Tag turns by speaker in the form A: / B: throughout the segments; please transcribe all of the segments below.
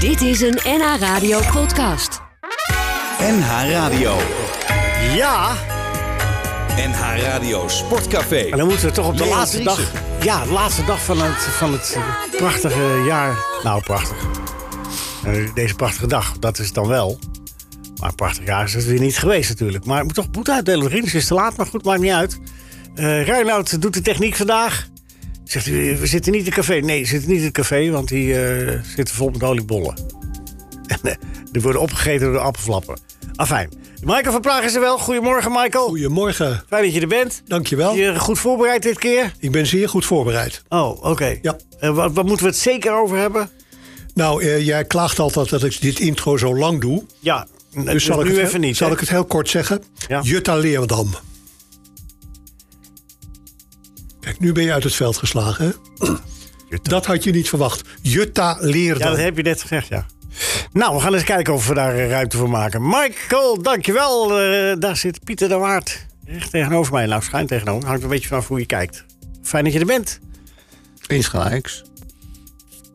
A: Dit is een NH Radio podcast.
B: NH Radio.
C: Ja,
B: NH Radio Sportcafé.
C: en dan moeten we toch op de
B: Leon
C: laatste dag.
B: Driessen.
C: Ja, de laatste dag van het, van het prachtige jaar. Nou, prachtig. Eh, Deze prachtige dag, dat is het dan wel. Maar een prachtig jaar is het weer niet geweest natuurlijk. Maar ik moet toch boete uitdelen. Rins is te laat, maar goed, maakt niet uit. Eh Reinoud doet de techniek vandaag. Zegt u, we zitten niet in het café. Nee, we zitten niet in het café, want die eh, zitten vol met oliebollen. En eh, die worden opgegeten door de appelflappen. Afijn. Michael van Praag is er wel. Goedemorgen, Michael.
D: Goedemorgen,
C: Fijn dat je er bent.
D: dankjewel.
C: Je goed voorbereid dit keer?
D: Ik ben zeer goed voorbereid.
C: Oh, oké.
D: Ja.
C: En wat, wat moeten we het zeker over hebben?
D: Nou, eh, jij klaagt altijd dat ik dit intro zo lang doe.
C: Ja, dus, zal
D: ik
C: nu
D: het heel-
C: even niet.
D: Zal
C: hè?
D: ik het heel kort zeggen?
C: Ja.
D: Jutta Leerdam. Kijk, nu ben je uit het veld geslagen. hè? Dat had je niet verwacht. Jutta
C: ja,
D: Leerdam.
C: dat heb je net gezegd, ja. Nou, we gaan eens kijken of we daar eh, ruimte voor maken. Michael, dankjewel. Eh daar zit Pieter de Waard. Recht tegenover mij. Nou, schuin tegenover. Hangt een beetje vanaf hoe je kijkt. Fijn dat je er bent.
D: Eens gelijks.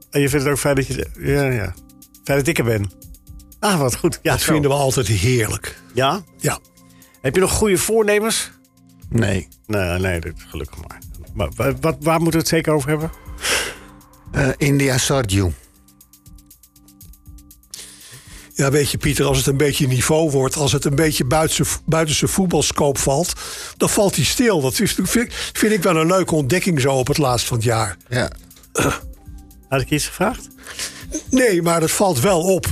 C: En Oh, je vindt het ook fijn dat je... er- Ja, ja. Fijn dat ik er ben. Ah, wat goed. Ja,
D: dat
C: zo.
D: vinden we altijd heerlijk.
C: Ja?
D: Ja.
C: Heb je nog goede voornemens?
E: Nee.
C: Nee, nee, dat is gelukkig maar. Maar wa- wat, waar moeten we het zeker over hebben?
E: Eh, India Sarju.
D: Ja, weet je, Pieter, als het een beetje niveau wordt, als het een beetje buitense, buitense voetbalscoop valt, dan valt hij stil. Dat is, vind, vind ik wel een leuke ontdekking zo op het laatst van het jaar.
E: Ja.
C: Had ik iets gevraagd?
D: Nee, maar dat valt wel op.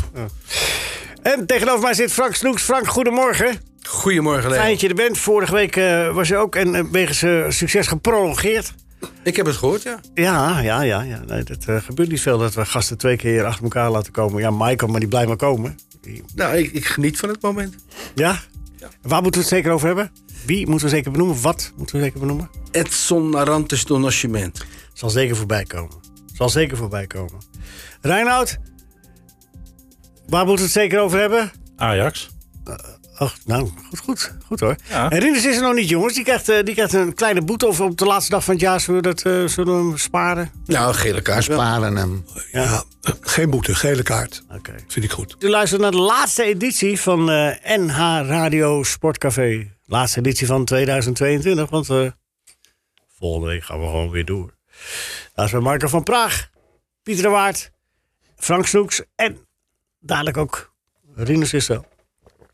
C: En tegenover mij zit Frank Snoeks. Frank, goedemorgen.
F: Goedemorgen, Leo.
C: Fijn dat je er bent. Vorige week eh, was je ook en eh, wegens eh, succes geprolongeerd.
F: Ik heb het gehoord, ja.
C: Ja, ja, ja. ja. Nee, dat eh, gebeurt niet veel dat we gasten twee keer achter elkaar laten komen. Ja, Michael, maar die blijft maar komen.
F: Nou, ik, ik geniet van het moment.
C: Ja? Waar moeten we het zeker over hebben? Wie moeten we zeker benoemen? Wat moeten we zeker benoemen?
F: Edson Arantes do Nascimento.
C: Zal zeker voorbij komen. Zal zeker voorbij komen. Reinoud, waar moeten we het zeker over hebben?
G: Ajax.
C: Ach, nou, goed, goed, goed hoor.
G: Ja.
C: En Rinus is er nog niet, jongens. Die krijgt, eh, die krijgt een kleine boete of op de laatste dag van het jaar zullen we, dat, eh, zullen we hem sparen.
F: Nou, gele kaars. wel.
E: Sparen hem.
D: Ja. geen boete, gele kaart.
C: Oké.
D: Vind ik goed.
C: U luistert naar de laatste editie van eh, NH Radio Sportcafé. Laatste editie van 2022, want eh, volgende week gaan we gewoon weer door. Daar is bij Marco van Praag, Pieter de Waard, Frank Snoeks en dadelijk ook Rinus is er.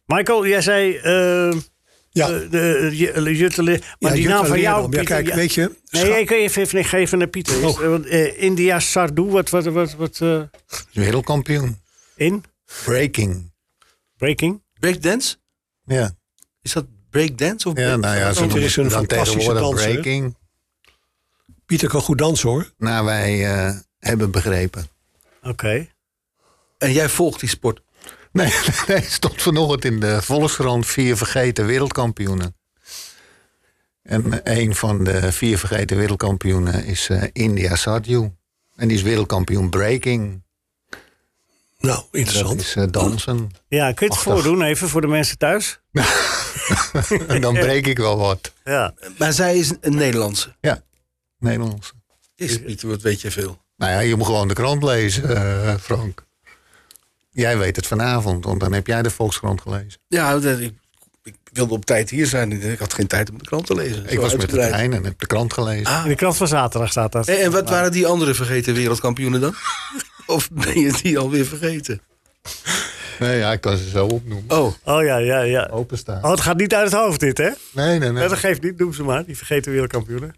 C: Michael, jij zei... eh,
D: Ja,
C: Eh, de, J- Jutte Leer- Maar
D: Ja,
C: die
D: Jutta
C: naam van jou,
D: Leerdam. Ja,
C: Pieter,
D: kijk, weet je,
C: Nee,
D: scha-
C: ik even, even geven naar Pieter. Is-
D: Oh.
C: eh, want, eh, India Sardu, wat, wat, wat, wat eh,
E: Wereldkampioen.
C: in?
E: Breaking.
C: Breaking?
F: Breakdance?
E: Ja.
F: Is dat breakdance? Of
E: Ja, nou ja, zo
D: Pieter is een
E: dan
D: fantastische
E: tegenwoordig
D: danser, hè?
E: breaking.
D: Pieter kan goed dansen hoor.
E: Naar wij eh, hebben begrepen.
C: Oké.
F: En jij volgt die sport.
E: Nee, nee, stond vanochtend in de Volkskrant vier vergeten wereldkampioenen. En eh, een van de vier vergeten wereldkampioenen is eh, India Sarju. En die is wereldkampioen breaking.
D: Nou,
E: Dat
D: interessant.
E: is eh, dansen.
C: Ja, kun je het
E: Ach, dat-
C: voordoen even voor de mensen thuis?
E: En dan breek ik wel wat.
C: Ja.
F: Maar zij is een, een Nederlandse.
E: Ja, Nederlands.
F: Is Pieter, wat weet je veel.
E: Nou ja, je moet gewoon de krant lezen, eh, Frank. Jij weet het vanavond, want dan heb jij de Volkskrant gelezen.
F: Ja, dat- ik, ik wilde op tijd hier zijn. Ik had geen tijd om de krant te lezen.
E: ik
F: Zo
E: was met de
F: uitgebreid. Ah.
E: trein en heb de krant gelezen.
C: In de krant van zaterdag staat dat.
F: Eh, En, en wat waren die andere vergeten wereldkampioenen dan? of ben je die alweer vergeten?
E: Nee, ja, ik kan ze zo opnoemen.
F: Oh,
C: Oh ja, ja, ja.
E: Openstaan.
C: Oh, het gaat niet uit het hoofd dit, hè?
E: Nee, nee,
C: Nee,
E: nee.
C: dat geeft niet. Noem ze maar. Die vergeten wereldkampioenen.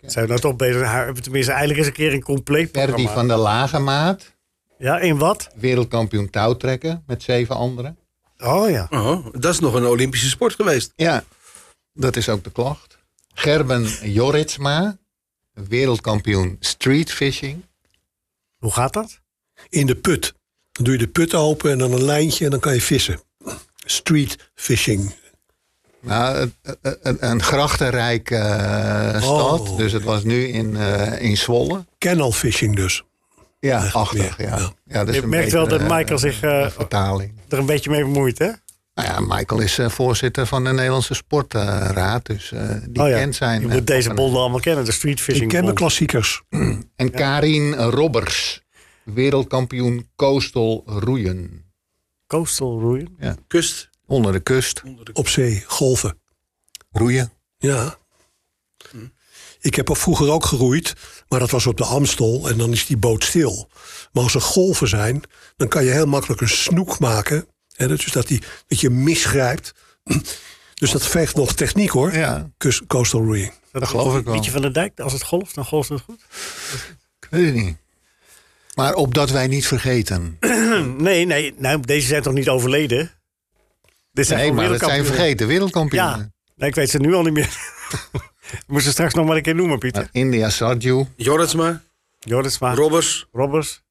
C: Zijn we nou toch bezig? haar- Tenminste, eindelijk eens een keer een compleet
E: Ferdi
C: programma.
E: van der Lage Maat,
C: Ja, in wat?
E: wereldkampioen touwtrekken met zeven anderen.
C: Oh ja.
F: oh, dat is nog een Olympische sport geweest.
E: Ja, dat is ook de klacht. Gerben Joritsma, wereldkampioen streetfishing.
C: Hoe gaat dat?
D: In de put. Dan doe je de put open en dan een lijntje en dan kan je vissen. Street fishing.
E: Nou, het- een- een, een grachtenrijke eh, stad,
D: Oh.
E: dus het was nu in, eh, in Zwolle.
D: Canal fishing dus.
E: Ja, achtig,
D: meer,
E: ja.
D: ja.
E: ja. dat is
C: Je
E: een
C: merkt wel dat
E: betere,
C: Michael zich eh,
E: eh, vertaling.
C: er een beetje mee bemoeit, hè?
E: Nou ja, Michael is eh, voorzitter van de Nederlandse Sportraad. Dus eh, die
C: Oh ja,
E: kent zijn.
C: Je
E: eh,
C: moet deze
E: pakken.
C: bolden allemaal kennen, de
D: Ik
C: streetfishing.
D: ken mijn
C: bol.
D: klassiekers.
E: En Karin Robbers. Wereldkampioen coastal roeien.
C: Coastal roeien.
F: Kust.
E: Onder de kust.
D: Op zee, golven.
E: Roeien.
D: Ja. Ik heb al vroeger ook geroeid, maar dat was op de Amstel en dan is die boot stil. Maar als er golven zijn, dan kan je heel makkelijk een snoek maken. Hè, dat- dus dat, die, dat je misgrijpt. Dus dat veegt nog techniek hoor,
E: Ja,
D: Kus- coastal roeing.
E: dat geloof ik wel.
C: Pietje van der Dijk, als het golft, dan golft het goed.
E: Ik weet het niet. Maar opdat wij niet vergeten.
C: Nee, nee, nou, deze zijn toch niet overleden? Dit zijn
E: Nee,
C: gewoon
E: maar dat zijn
C: wereldkampioenen.
E: vergeten wereldkampioenen.
C: Ja, nee, ik weet ze nu al niet meer. Moest ze straks nog maar een keer noemen, Pieter.
E: Maar India Sarju,
F: Jorritsma.
C: Jordisma,
F: Robbers.
C: Robbers.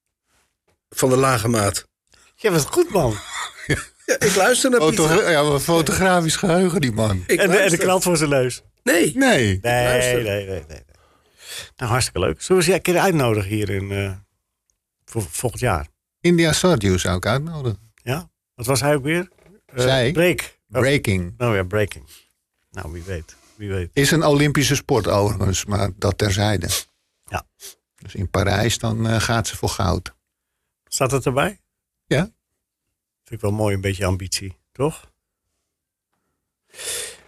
F: Van de lage maat.
C: Jij was goed, man.
F: Ja, ik luister naar
E: foto-
F: Pieter.
E: ja, maar fotografisch geheugen die man.
F: Ik
C: Oh, En de, en de
F: luister.
C: knalt voor zijn neus.
F: Nee.
E: Nee.
C: Nee, nee,
F: Luister.
C: nee, nee, nee. Nou, hartstikke leuk. Zullen we ze een keer uitnodigen hier in, eh, voor volgend jaar?
E: India Sarju zou ik uitnodigen.
C: Ja? Wat was hij ook weer? Eh,
E: Zij?
C: Break. Oh,
E: Breaking.
C: nou ja, breaking. Nou, wie weet. Wie weet.
E: Is een Olympische sport overigens, maar dat terzijde.
C: Ja.
E: Dus in Parijs dan eh, gaat ze voor goud.
C: Staat dat erbij?
E: Ja.
C: Vind ik wel mooi, een beetje ambitie, toch?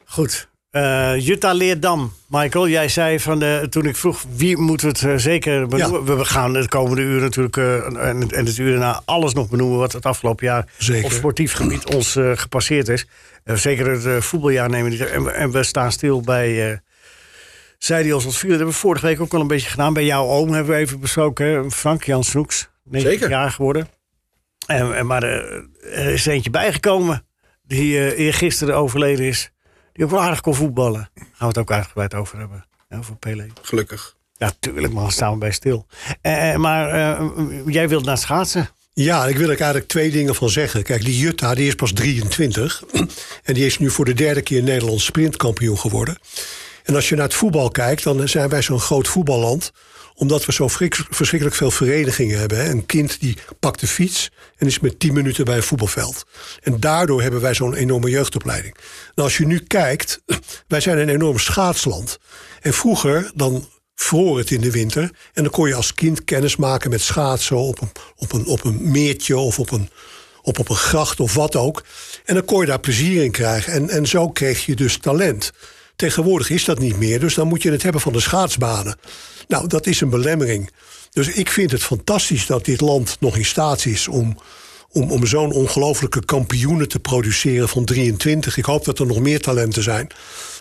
C: Goed. Eh, Jutta Leerdam, Michael, jij zei van de, toen ik vroeg wie moeten we het eh, zeker benoemen. We gaan de komende uren natuurlijk eh, en- en, en het uur daarna alles nog benoemen wat het afgelopen jaar
D: Zeker.
C: op sportief gebied ons eh, gepasseerd is. Eh, zeker het eh, voetbaljaar nemen we niet. En, we- en we staan stil bij eh zij die ons ontvielen. Dat hebben we vorige week ook al een beetje gedaan. Bij jouw oom hebben we even besproken, hè? Frank Jan Snoeks, 90
F: Zeker.
C: jaar geworden. En, en, maar eh, er is eentje bijgekomen die eh eergisteren overleden is. Die ook wel aardig kon voetballen. Daar gaan we het ook uitgebreid over hebben. Ja, over Pelé.
F: Gelukkig.
C: Ja, tuurlijk man, staan we bij stil. Eh, eh, maar eh, jij wilt naar schaatsen.
D: Ja, ik wil er eigenlijk twee dingen van zeggen. Kijk, die Jutta die is pas 23. En die is nu voor de derde keer Nederlands sprintkampioen geworden. En als je naar het voetbal kijkt, dan zijn wij zo'n groot voetballand. Omdat we zo frik- verschrikkelijk veel verenigingen hebben. Hè. Een kind die pakt de fiets en is met 10 minuten bij een voetbalveld. En daardoor hebben wij zo'n enorme jeugdopleiding. En als je nu kijkt, wij zijn een enorm schaatsland. En vroeger, dan vroor het in de winter. En dan kon je als kind kennis maken met schaatsen op een, op een, op een meertje of op een, op, op een gracht of wat ook. En dan kon je daar plezier in krijgen. En, en zo kreeg je dus talent. Tegenwoordig is dat niet meer, dus dan moet je het hebben van de schaatsbanen. Nou, dat is een belemmering. Dus ik vind het fantastisch dat dit land nog in staat is om, om, om zo'n ongelofelijke kampioenen te produceren van 23. Ik hoop dat er nog meer talenten zijn.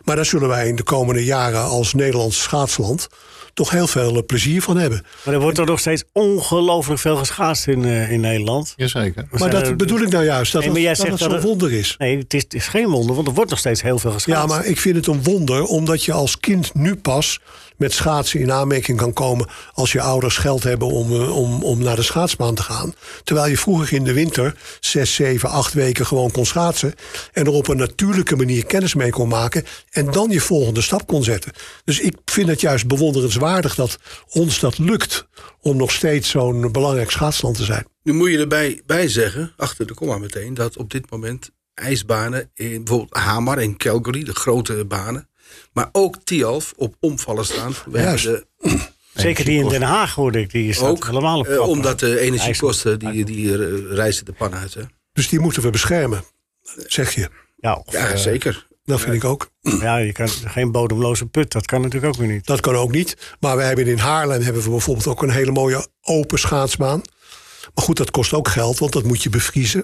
D: Maar daar zullen wij in de komende jaren als Nederlands schaatsland toch heel veel eh, plezier van hebben.
C: Maar er wordt er nog steeds ongelooflijk veel geschaatst in, eh, in Nederland.
E: Jazeker.
D: Maar
C: zijn
D: dat
C: er-
D: bedoel ik nou juist, dat
C: Nee, maar jij
D: het, dat
C: zegt
D: het zo'n
C: dat het-
D: wonder is.
C: Nee, het is, het is geen wonder, want er wordt nog steeds heel veel geschaatst.
D: Ja, maar ik vind het een wonder omdat je als kind nu pas met schaatsen in aanmerking kan komen als je ouders geld hebben om, eh, om, om naar de schaatsbaan te gaan. Terwijl je vroeger in de winter zes, zeven, acht weken gewoon kon schaatsen en er op een natuurlijke manier kennis mee kon maken en dan je volgende stap kon zetten. Dus ik vind het juist bewonderenswaardig dat ons dat lukt om nog steeds zo'n belangrijk schaatsland te zijn.
F: Nu moet je erbij bij zeggen, achter de komma meteen, dat op dit moment ijsbanen in bijvoorbeeld Hamar en Calgary, de grote banen, maar ook Tialf op omvallen staan. We
D: Juist.
F: hebben de-
C: Zeker die in Den Haag hoorde ik, die staat
F: ook,
C: helemaal op
F: eh,
C: kop.
F: omdat de energiekosten,
C: IJssel.
F: die, die eh, reizen de pan uit. Hè?
D: Dus die moeten we beschermen, zeg je.
C: Ja, of,
F: Ja,
C: eh,
F: zeker.
D: Dat vind ik ook.
C: ja, je kan geen bodemloze put, dat kan natuurlijk ook weer niet.
D: Dat kan ook niet. Maar we hebben in Haarlem hebben we bijvoorbeeld ook een hele mooie open schaatsbaan. Maar goed, dat kost ook geld, want dat moet je bevriezen.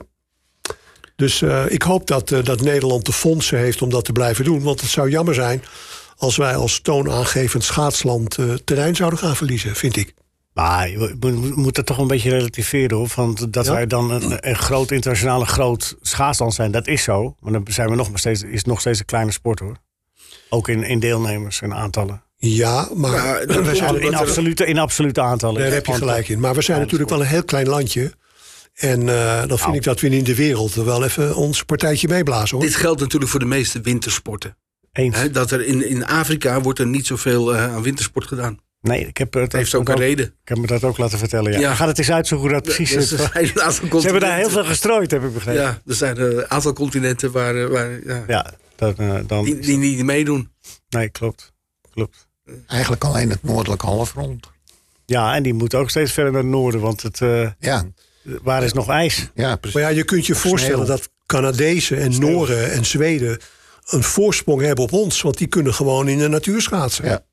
D: Dus eh, ik hoop dat, eh, dat Nederland de fondsen heeft om dat te blijven doen. Want het zou jammer zijn als wij als toonaangevend schaatsland eh, terrein zouden gaan verliezen, vind ik.
C: Maar je moet- moet- moet dat toch een beetje relativeren hoor. Want dat
D: Ja.
C: wij dan een, een groot internationale groot schaatsland zijn, dat is zo. Maar dan zijn we nog maar steeds, is het nog steeds een kleine sport hoor. Ook in, in deelnemers en aantallen.
D: Ja, maar
F: Ja, dat
D: we
F: komt
D: zijn
F: omdat
C: In
F: er-
C: absolute, in absolute aantallen.
D: Daar heb je
C: Want-
D: gelijk in. Maar we zijn natuurlijk wel een heel klein landje. En eh, dan
F: Nou.
D: vind ik dat we in de wereld wel even ons partijtje meeblazen. Hoor.
F: Dit geldt natuurlijk voor de meeste wintersporten.
C: Eens.
F: Hè? Dat er in, in Afrika wordt er niet zoveel eh, aan wintersport gedaan.
C: Nee, ik heb, het
F: Dat heeft ook een reden.
C: ik heb me dat ook laten vertellen. Ja.
F: Ja.
C: Ik Ga het eens uitzoeken hoe dat precies
F: Dus
C: zit.
F: er zijn een aantal
C: Ze hebben daar
F: continenten-
C: heel veel gestrooid, heb ik begrepen. Ja,
F: Ja, er zijn eh, een aantal continenten waar, eh, waar, ja,
C: dat, eh, dan,
F: die, die niet meedoen.
C: nee, klopt. klopt.
E: Eigenlijk alleen het noordelijk halfrond.
C: Ja, en die moet ook steeds verder naar het noorden, want het, eh,
E: Ja,
C: waar is nog ijs?
E: ja precies.
D: Maar ja, je kunt je voorstellen
E: sneeuw.
D: dat Canadezen en Noren en Zweden een voorsprong hebben op ons. Want die kunnen gewoon in de natuur schaatsen.
E: Ja.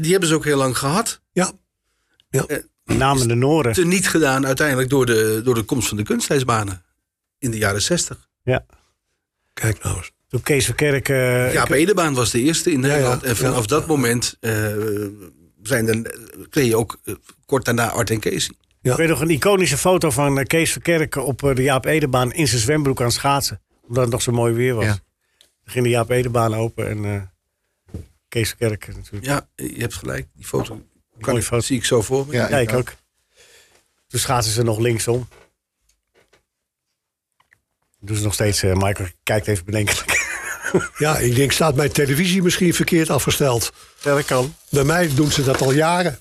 F: Die hebben ze ook heel lang gehad.
D: Ja.
C: Met name de noorden.
F: Te niet gedaan uiteindelijk door de, door de komst van de kunstijsbanen. In de jaren zestig.
C: Ja.
D: Kijk nou eens.
C: Toen Kees Verkerk... eh,
F: Jaap Edebaan was de eerste in Nederland.
D: ja,
F: en vanaf
D: ja.
F: dat moment eh, zijn er, kreeg je ook eh, kort daarna Art en Casey.
C: Ik weet nog een iconische foto van eh, Kees Verkerk op eh, de Jaap Edebaan in zijn zwembroek aan het schaatsen. Omdat het nog zo mooi weer was.
E: Ja.
C: Dan ging de Jaap Edebaan open en eh, Kees Verkerk natuurlijk.
F: Ja, je hebt gelijk. Die foto, kan
C: mooie
F: ik,
C: foto.
F: zie ik zo voor me.
E: Ja,
C: Ja, ik ook. Toen schaatsen ze nog linksom. Dat doen ze nog steeds. eh, Michael kijkt even bedenkelijk.
D: Ja, ik denk, staat mijn televisie misschien verkeerd afgesteld?
C: Ja, dat kan.
D: Bij mij doen ze dat al jaren.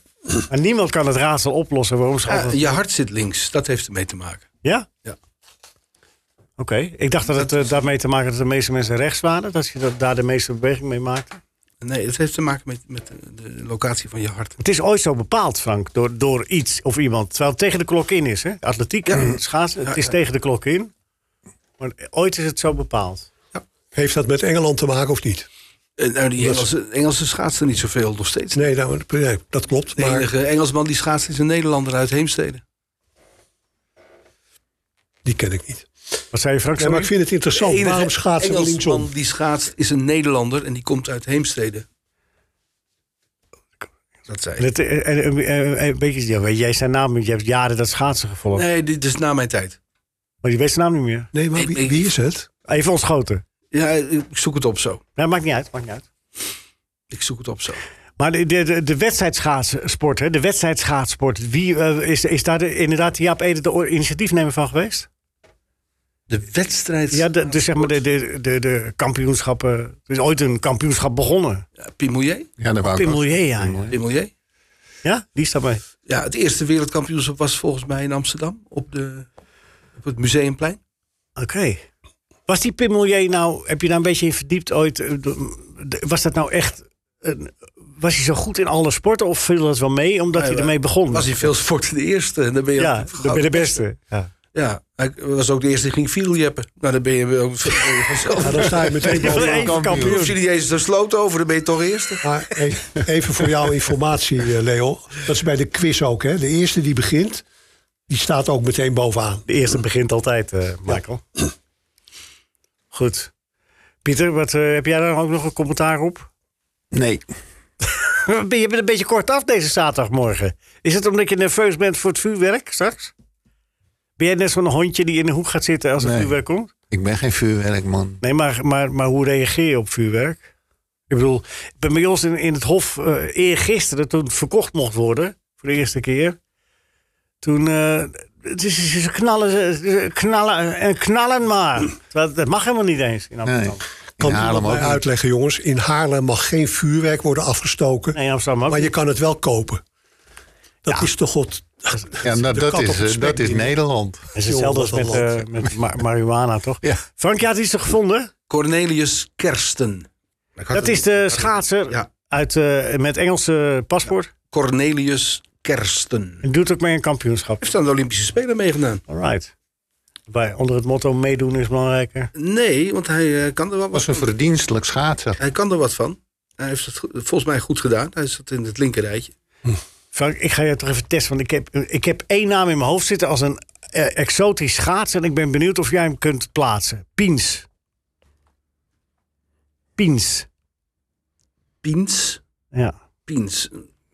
C: Maar niemand kan het raadsel oplossen waarom ze
F: Ja,
C: altijd-
F: je hart zit links, dat heeft ermee te maken.
C: Ja?
F: Ja.
C: Oké. Ik dacht dat het eh, daarmee te maken had dat de meeste mensen rechts waren. Dat je dat, daar de meeste beweging mee maakte.
F: Nee, het heeft te maken met, met de- de locatie van je hart.
C: Het is ooit zo bepaald, Frank, door, door iets of iemand. Terwijl het tegen de klok in is, hè? Atletiek,
F: Ja.
C: schaatsen, het
F: Ja,
C: is
F: ja.
C: tegen de klok in. Maar ooit is het zo bepaald.
D: Heeft dat met Engeland te maken of niet?
F: Eh, nou, die Engelse, Engelse schaatsen niet zoveel nog steeds.
D: Nee, nou, nee, dat klopt.
F: De
D: Maar
F: enige Engelsman die schaatst is een Nederlander uit Heemstede.
D: die ken ik niet.
C: Wat zei je, Frank?
D: Nee, maar
C: sorry?
D: ik vind het
F: De
D: interessant.
F: enige
D: Waarom schaatsen we
F: Engelsman
D: linksom?
F: die schaatst is een Nederlander en die komt uit Heemstede. Dat zei ik.
C: Het, eh, eh, eh, eh, een beetje, ja, weet jij zijn naam, niet. je hebt jaren dat schaatsen gevolgd.
F: Nee, dit is na mijn tijd.
C: Maar je weet zijn naam niet meer.
D: Nee, maar wie, wie is het?
C: Even ontschoten.
F: Ja, ik zoek het op zo.
C: Nee, maakt niet uit, maakt niet uit.
F: Ik zoek het op zo.
C: Maar de, de, de, de wedstrijdschaatsport, hè, de wedstrijdschaatsport, wie eh, is, is daar de- inderdaad Jaap Ede de o- initiatiefnemer van geweest?
F: De wedstrijd.
C: Ja, de, de, zeg maar de, de, de, de kampioenschappen. Er is ooit een kampioenschap begonnen.
F: Pimouillet?
E: Ja, dat wou ik
C: Pim
E: ook.
C: Milieu, ja.
F: Pimouillet?
C: Ja, die staat bij.
F: Ja, het eerste wereldkampioenschap was volgens mij in Amsterdam. Op, de, op het Museumplein.
C: Oké. Was die Pim Milieu nou, heb je daar een beetje in verdiept ooit? eh, de- Was dat nou echt, een- was hij zo goed in alle sporten of viel dat wel mee omdat
F: Nee,
C: hij
F: maar-
C: ermee begon?
F: Was hij veel sporten de eerste. En dan ben je
C: ja,
F: ook-
C: dat ben de beste. Ja.
F: Ja, hij was ook de eerste die ging vierwieljeppen. Nou, dan ben je ook vanzelf.
D: Nou, dan sta je meteen
C: Je bent
D: bovenaan.
C: even
F: Dan hoef
C: kampioen.
F: je niet eens de sloot over, dan ben je toch eerste.
D: Maar e- even voor jouw informatie, eh, Leo. Dat is bij de quiz ook. Hè? De eerste die begint, die staat ook meteen bovenaan.
C: De eerste begint altijd, eh, Michael. Goed. Pieter, wat, eh, heb jij daar ook nog een commentaar op?
E: Nee,
C: Je bent een beetje kort af deze zaterdagmorgen. Is het omdat je nerveus bent voor het vuurwerk straks? Ben jij net zo'n hondje die in de hoek gaat zitten als het
E: Nee.
C: vuurwerk komt?
E: ik ben geen vuurwerkman.
C: Nee, maar, maar, maar hoe reageer je op vuurwerk? Ik bedoel, bij bij ons in, in het Hof eh eergisteren, toen het verkocht mocht worden, voor de eerste keer. Toen, eh, het is, ze knallen, ze- ze knallen eh, en knallen maar. Terwijl dat mag helemaal niet eens in
E: Nee.
C: Amsterdam.
E: In
D: Kan iemand
E: Haarlem ook
D: mij
E: niet.
D: uitleggen, jongens. In Haarlem mag geen vuurwerk worden afgestoken.
C: Nee, in Amsterdam ook
D: Maar je
C: niet.
D: kan het wel kopen. Dat is toch wat...
E: Ja, nou,
D: de
E: dat,
D: kat op
E: is,
D: het
E: eh,
D: spek
E: dat is
D: niet.
E: Nederland.
C: Het is hetzelfde als
D: Joh,
C: met,
D: wat een
C: eh
D: land.
C: met ma- marihuana, toch?
E: Ja.
C: Frank, je had iets gevonden.
F: Cornelius Kersten. Ik had
C: Dat
F: het-
C: is de schaatser
F: Ja.
C: uit, eh, met Engelse paspoort.
F: Cornelius Kersten.
C: En doet ook mee een kampioenschap.
F: Heeft aan de Olympische Spelen meegedaan?
C: All right. Bij, onder het motto meedoen is belangrijker.
F: Nee, want hij eh, kan er wel wat
E: was een
F: van.
E: verdienstelijk schaatser.
F: Hij kan er wat van. Hij heeft het go- volgens mij goed gedaan. Hij zat in het linkerrijtje.
C: Frank, ik ga je toch even testen. Want ik heb, ik heb één naam in mijn hoofd zitten als een eh, exotisch schaats. En ik ben benieuwd of jij hem kunt plaatsen. Piens. Piens.
F: Piens.
C: Ja.
F: Piens.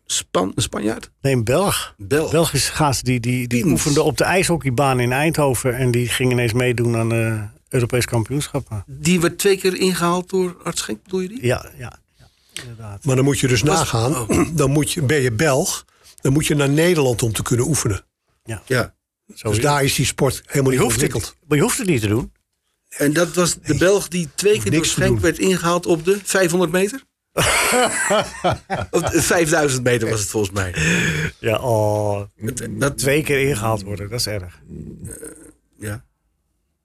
F: Span, een Spanjaard?
C: Nee, een Belg.
F: Bel.
C: Belgische schaats. Die, die, die
F: Piens.
C: oefende op de ijshockeybaan in Eindhoven. En die ging ineens meedoen aan de Europees kampioenschappen.
F: Die werd twee keer ingehaald door Art Schenk, bedoel je die?
C: Ja, ja. ja inderdaad.
D: Maar dan moet je dus
F: Was-
D: nagaan.
F: Oh.
D: Dan moet je, ben je Belg. Dan moet je naar Nederland om te kunnen oefenen.
F: Ja.
C: Zo
D: Dus
C: is het.
D: daar is die sport helemaal
C: je
D: niet
C: hoeft het,
D: ontwikkeld.
C: maar je hoeft het niet te doen.
F: En dat was de Belg die twee keer door
D: Niks te
F: Schenk
D: doen.
F: werd ingehaald op de 500 meter? of de 5000 meter was het volgens mij.
C: Ja, oh,
F: Het- Dat,
C: twee keer ingehaald worden, dat is erg.
F: ja,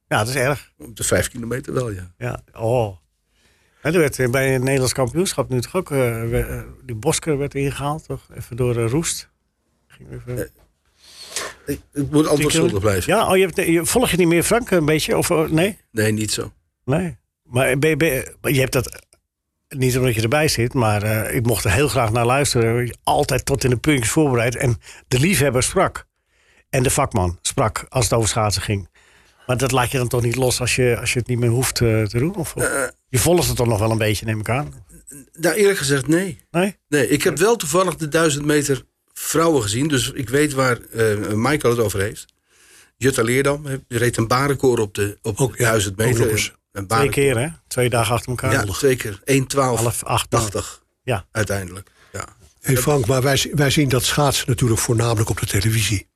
C: Ja, dat is erg.
F: op de 5 kilometer wel, ja.
C: Ja, oh. En er werd eh, bij het Nederlands kampioenschap nu toch ook... eh, we- eh, die Bosker werd ingehaald, toch? Even door eh, Roest. ging even-
F: Ik, ik moet antwoord schuldig blijven.
C: Ja, oh, je, hebt, je, volg je niet meer Frank een beetje? Of eh, nee?
F: Nee, niet zo.
C: Nee. Maar ben, je- ben je- maar je hebt dat niet omdat je erbij zit, maar eh, ik mocht er heel graag naar luisteren. Altijd tot in de puntjes voorbereid. En de liefhebber sprak. En de vakman sprak als het over schaatsen ging. Maar dat laat je dan toch niet los als je, als je het niet meer hoeft eh, te doen? Of, of- je volgt het toch nog wel een beetje, neem ik aan?
F: Nou, eerlijk gezegd, nee.
C: Nee?
F: Nee, ik heb wel toevallig de 1000 meter vrouwen gezien. Dus ik weet waar eh Michael het over heeft. Jutta Leerdam heeft- die reed een baanrecord op de op
D: Ook,
F: de
D: ja,
F: 1000 meter.
D: ook nog eens.
F: Een
C: Twee
F: baanrecord.
C: keer, hè? Twee dagen achter elkaar.
F: Ja, zeker. 1,12.
C: Half acht.
F: 80
C: Ja.
F: uiteindelijk. Ja.
D: Hey Frank, maar wij, zi- wij zien dat schaatsen natuurlijk voornamelijk op de televisie.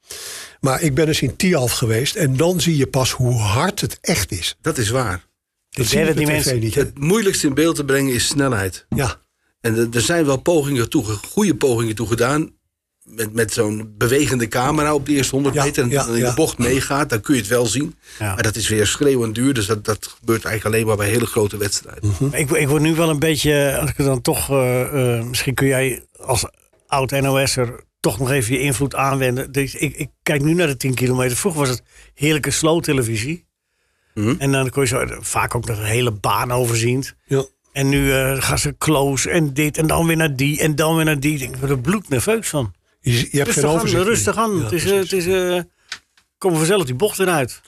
D: Maar ik ben eens in Tialf geweest en dan zie je pas hoe hard het echt is.
F: Dat is waar.
C: Ik
D: Dat zie
C: weet
D: je
C: het
D: op de
C: niet,
D: tv
C: mensen.
D: niet. hè?
F: Het moeilijkste in beeld te brengen is snelheid.
D: Ja,
F: En er- er zijn wel pogingen toe, ge- goede pogingen toe gedaan. Met, met zo'n bewegende camera op de eerste 100
D: Ja,
F: meter. En
D: ja,
F: dan in
D: ja.
F: de bocht meegaat, dan kun je het wel zien.
C: Ja.
F: Maar dat is weer schreeuwend duur. Dus dat, dat gebeurt eigenlijk alleen maar bij hele grote wedstrijden.
D: Mhm.
C: Ik, ik word nu wel een beetje, als ik het dan toch, eh, eh, misschien kun jij als oud NOS'er toch nog even je invloed aanwenden. Dus ik, ik kijk nu naar de 10 kilometer. Vroeger was het heerlijke slow televisie.
F: Mhm.
C: En dan kon je zo, vaak ook nog een hele baan overzien.
D: ja.
C: En nu eh, gaan ze close en dit en dan weer naar die en dan weer naar die. Ik word er bloednerveus van.
D: Je, je hebt
C: Rustig
D: geen
C: aan,
D: overzicht. meer.
C: rustig aan.
D: Ja,
C: het is, eh,
D: precies.
C: het is, eh, komen we vanzelf die bocht weer uit.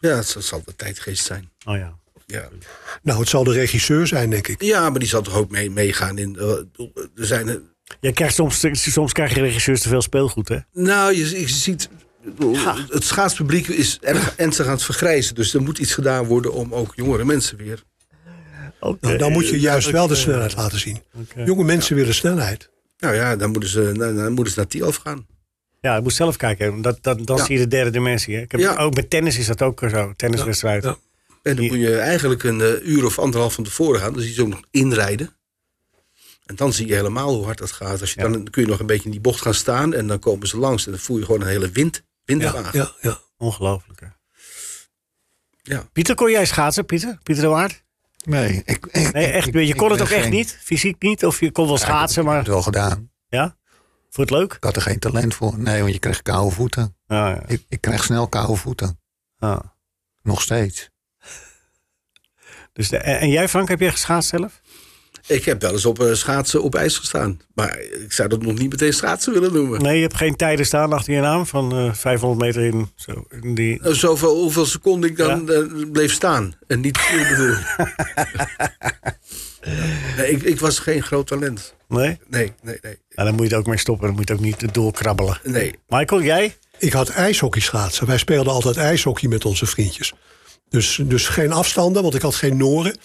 F: Ja, dat zal- zal de tijdgeest zijn.
C: Oh ja.
F: Ja.
D: Nou, het zal de regisseur zijn, denk ik.
F: ja, maar die zal toch ook mee, meegaan in. eh, Er zijn, eh,
C: Je krijgt soms, soms krijg je regisseurs te veel speelgoed, hè?
F: nou, je, je ziet. ik bedoel, Het schaatspubliek is erg ernstig aan het vergrijzen. Dus er moet iets gedaan worden om ook jongere mensen weer.
D: Nou, dan
C: eh,
D: moet je juist wel de
E: eh,
D: snelheid laten zien. Jonge mensen willen snelheid.
F: Nou ja, dan moeten ze, dan, dan moeten ze naar Tielf gaan.
C: Ja, ik moet zelf kijken. want Dat, dat, dan
F: Ja.
C: zie je de derde dimensie. Hè? Ik heb,
F: Ja.
C: Ook met tennis is dat ook zo. Tenniswedstrijd.
D: Ja.
F: En dan moet je eigenlijk een eh, uur of anderhalf van tevoren gaan. Dus die zo nog inrijden. En dan zie je helemaal hoe hard dat gaat. Als je dan, dan kun je nog een beetje in die bocht gaan staan. En dan komen ze langs. En dan voel je gewoon een hele wind, windvlaag.
D: Ja, ja, ja.
C: Ongelooflijk. hè.
F: Ja.
C: Pieter, kon jij schaatsen, Pieter? Pieter de Waard?
E: Nee, ik, ik-
C: Nee, echt. Je
E: ik
C: kon het
E: ben
C: ook echt
E: geen-
C: niet? Fysiek niet? Of je kon wel schaatsen,
E: Ik heb
C: maar...
E: het wel gedaan.
C: Ja? Vond je het leuk? Nou,
E: Ik had er geen talent voor. Nee, want je krijgt koude voeten.
C: Ja, ja.
E: Ik, ik krijg snel koude voeten.
C: Ah.
E: Nog steeds.
C: Dus de- en, en jij, Frank, heb jij geschaatst zelf?
F: Ik heb wel eens op eh, schaatsen op ijs gestaan. Maar ik zou dat nog niet meteen schaatsen willen noemen.
C: Nee, je hebt geen tijden staan achter je naam van eh, 500 meter in. Zo, in die...
F: Eh, Zoveel, hoeveel seconden ik dan eh, bleef staan. En niet ik bedoel. nee, ik, ik was geen groot talent.
C: Nee?
F: Nee, nee, nee.
C: Nou, dan moet je het ook mee stoppen. Dan moet je het ook niet doorkrabbelen.
F: nee.
C: Michael, jij?
D: Ik had ijshockey schaatsen. Wij speelden altijd ijshockey met onze vriendjes. Dus, dus geen afstanden, want ik had geen noren.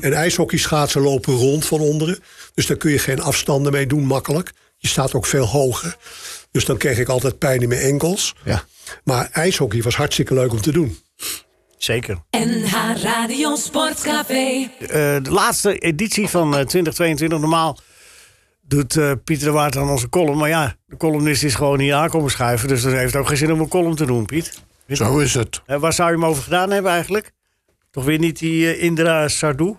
D: En ijshockey schaatsen lopen rond van onderen. Dus daar kun je geen afstanden mee doen makkelijk. Je staat ook veel hoger. Dus dan kreeg ik altijd pijn in mijn enkels.
E: Ja.
D: Maar ijshockey was hartstikke leuk om te doen.
C: Zeker.
A: NH Radio Sportcafé.
C: Eh, de laatste editie van eh, 2022. Normaal doet eh, Pieter de Waard dan onze column. Maar ja, de columnist is gewoon hier aankomen schuiven. Dus dat heeft ook geen zin om een column te doen, Piet.
E: Zo is het.
C: Eh, waar zou je hem over gedaan hebben eigenlijk? Toch weer niet die eh, Indra Sardou?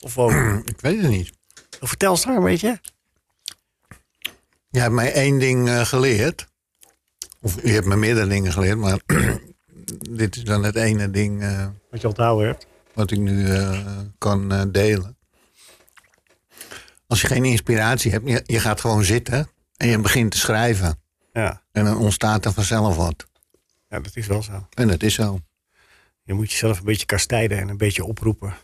C: Of wel?
E: Ik weet het niet.
C: Vertel eens daar een beetje.
E: Je hebt mij één ding eh, geleerd. Of je hebt me meerdere dingen geleerd, maar dit is dan het ene ding eh,
C: Wat je onthouden hebt.
E: wat ik nu eh, kan eh, delen. Als je geen inspiratie hebt, je, je gaat gewoon zitten en je begint te schrijven.
C: Ja.
E: En dan ontstaat er vanzelf wat.
C: ja, dat is wel zo.
E: En dat is zo.
C: Je moet jezelf een beetje kastijden en een beetje oproepen.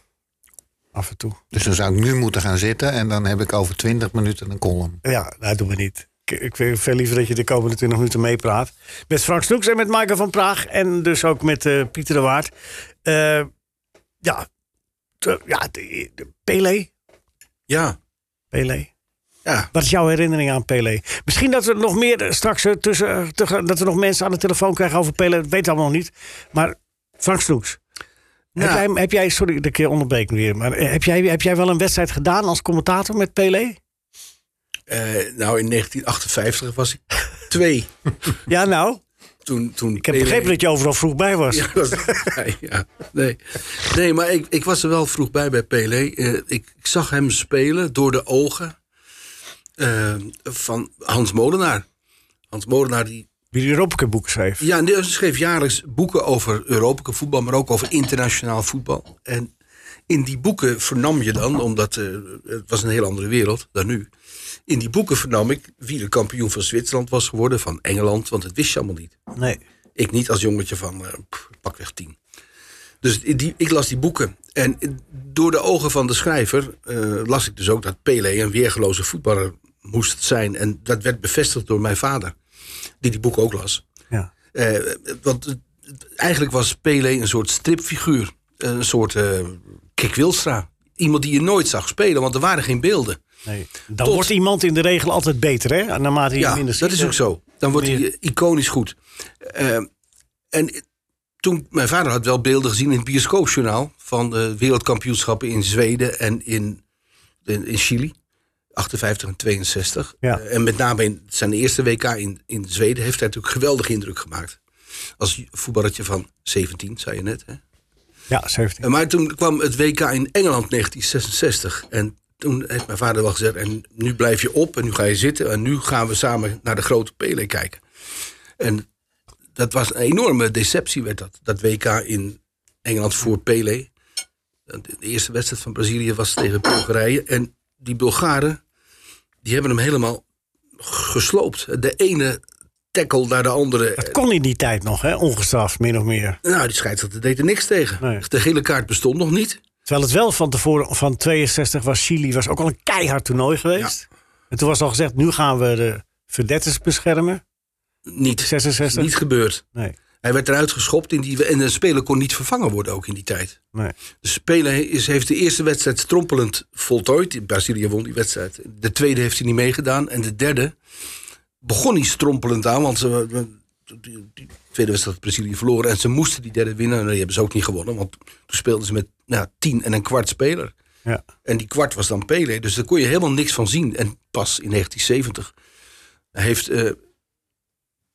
C: Af en toe.
E: Dus dan zou ik nu moeten gaan zitten en dan heb ik over 20 minuten een column.
C: Ja, dat doen we niet. Ik, ik vind veel liever dat je de komende 20 minuten meepraat. Met Frank Snoeks en met Michael van Praag. En dus ook met eh, Pieter de Waard. Eh, ja, Te- ja de- de- Pele.
F: Ja,
C: Pele.
F: ja.
C: Wat is jouw herinnering aan Pele? Misschien dat we nog meer eh, straks eh, tussen, eh, tege- dat we nog mensen aan de telefoon krijgen over Pele. Dat weet allemaal nog niet. Maar Frank Snoeks. Heb,
F: Nou.
C: jij, hem- heb jij, sorry, dat ik je onderbreek weer. Maar eh, heb jij, heb jij wel een wedstrijd gedaan als commentator met Pele?
F: Eh, nou, in 1958 was ik twee.
C: Ja, nou.
F: Toen, toen E.
C: Ik heb begrepen dat je overal vroeg bij was.
F: Ja, dat was- ja, nee. nee, maar ik, ik was er wel vroeg bij bij Pelé. Eh, ik, ik zag hem spelen door de ogen eh, van Hans Molenaar. Hans Molenaar die
C: Wie die Europa Cup boek schreef.
F: ja, en die schreef jaarlijks boeken over Europa Cup voetbal, maar ook over internationaal voetbal. En in die boeken vernam je dan, omdat eh, het was een heel andere wereld dan nu. In die boeken vernam ik wie de kampioen van Zwitserland was geworden, van Engeland, want het wist je allemaal niet.
C: Nee.
F: Ik niet als jongetje van eh, pff, pakweg tien. Dus die, ik las die boeken. En door de ogen van de schrijver eh, las ik dus ook dat Pelé een weergeloze voetballer moest zijn. En dat werd bevestigd door mijn vader, die die boeken ook las.
C: Ja.
F: Eh, want het- het- eigenlijk was Pelé een soort stripfiguur. Een soort eh Kik Wilstra. Iemand die je nooit zag spelen, want er waren geen beelden.
C: nee. Dan
F: Tot-
C: wordt iemand in de regel altijd beter, hè? Naarmate je
F: Ja,
C: minder ziet.
F: dat is ook zo. Dan wordt hij
C: Meer-
F: eh, iconisch goed. Eh, en toen, mijn vader had wel beelden gezien in het bioscoopjournaal... van de wereldkampioenschappen in Zweden en in, in, in Chili. 58 en 62.
C: Ja.
F: Eh, en met name in zijn eerste WK in, in Zweden... heeft hij natuurlijk geweldig indruk gemaakt. Als voetballertje van 17, zei je net, hè?
C: Ja, 17.
F: En Maar toen kwam het WK in Engeland 1966. En toen heeft mijn vader wel gezegd... en nu blijf je op en nu ga je zitten... en nu gaan we samen naar de grote Pele kijken. En dat was een enorme deceptie, werd dat. Dat WK in Engeland voor Pele. De eerste wedstrijd van Brazilië was tegen Bulgarije. En die Bulgaren, die hebben hem helemaal gesloopt. De ene tackle naar de andere.
C: Dat kon in die tijd nog, hè? Ongestraft, min of meer.
F: Nou, die scheidsrechter deed er niks tegen.
C: Nee.
F: De gele kaart bestond nog niet.
C: Terwijl het wel van tevoren, van 62 was Chili, was ook al een keihard toernooi geweest. En toen was al gezegd, nu gaan we de verdetters beschermen.
F: Niet.
C: 66?
F: Niet gebeurd.
C: Nee,
F: Hij werd eruit geschopt in die, en de speler kon niet vervangen worden ook in die tijd.
C: nee.
F: De speler is, heeft de eerste wedstrijd strompelend voltooid. Brazilië won die wedstrijd. De tweede heeft hij niet meegedaan. En de derde begon hij strompelend aan. Want ze, die, die tweede wedstrijd had Brazilië verloren. En ze moesten die derde winnen. En die hebben ze ook niet gewonnen. Want toen speelden ze met nou, tien en een kwart speler.
C: Ja.
F: En die kwart was dan Pele. Dus daar kon je helemaal niks van zien. En pas in 1970 heeft, eh,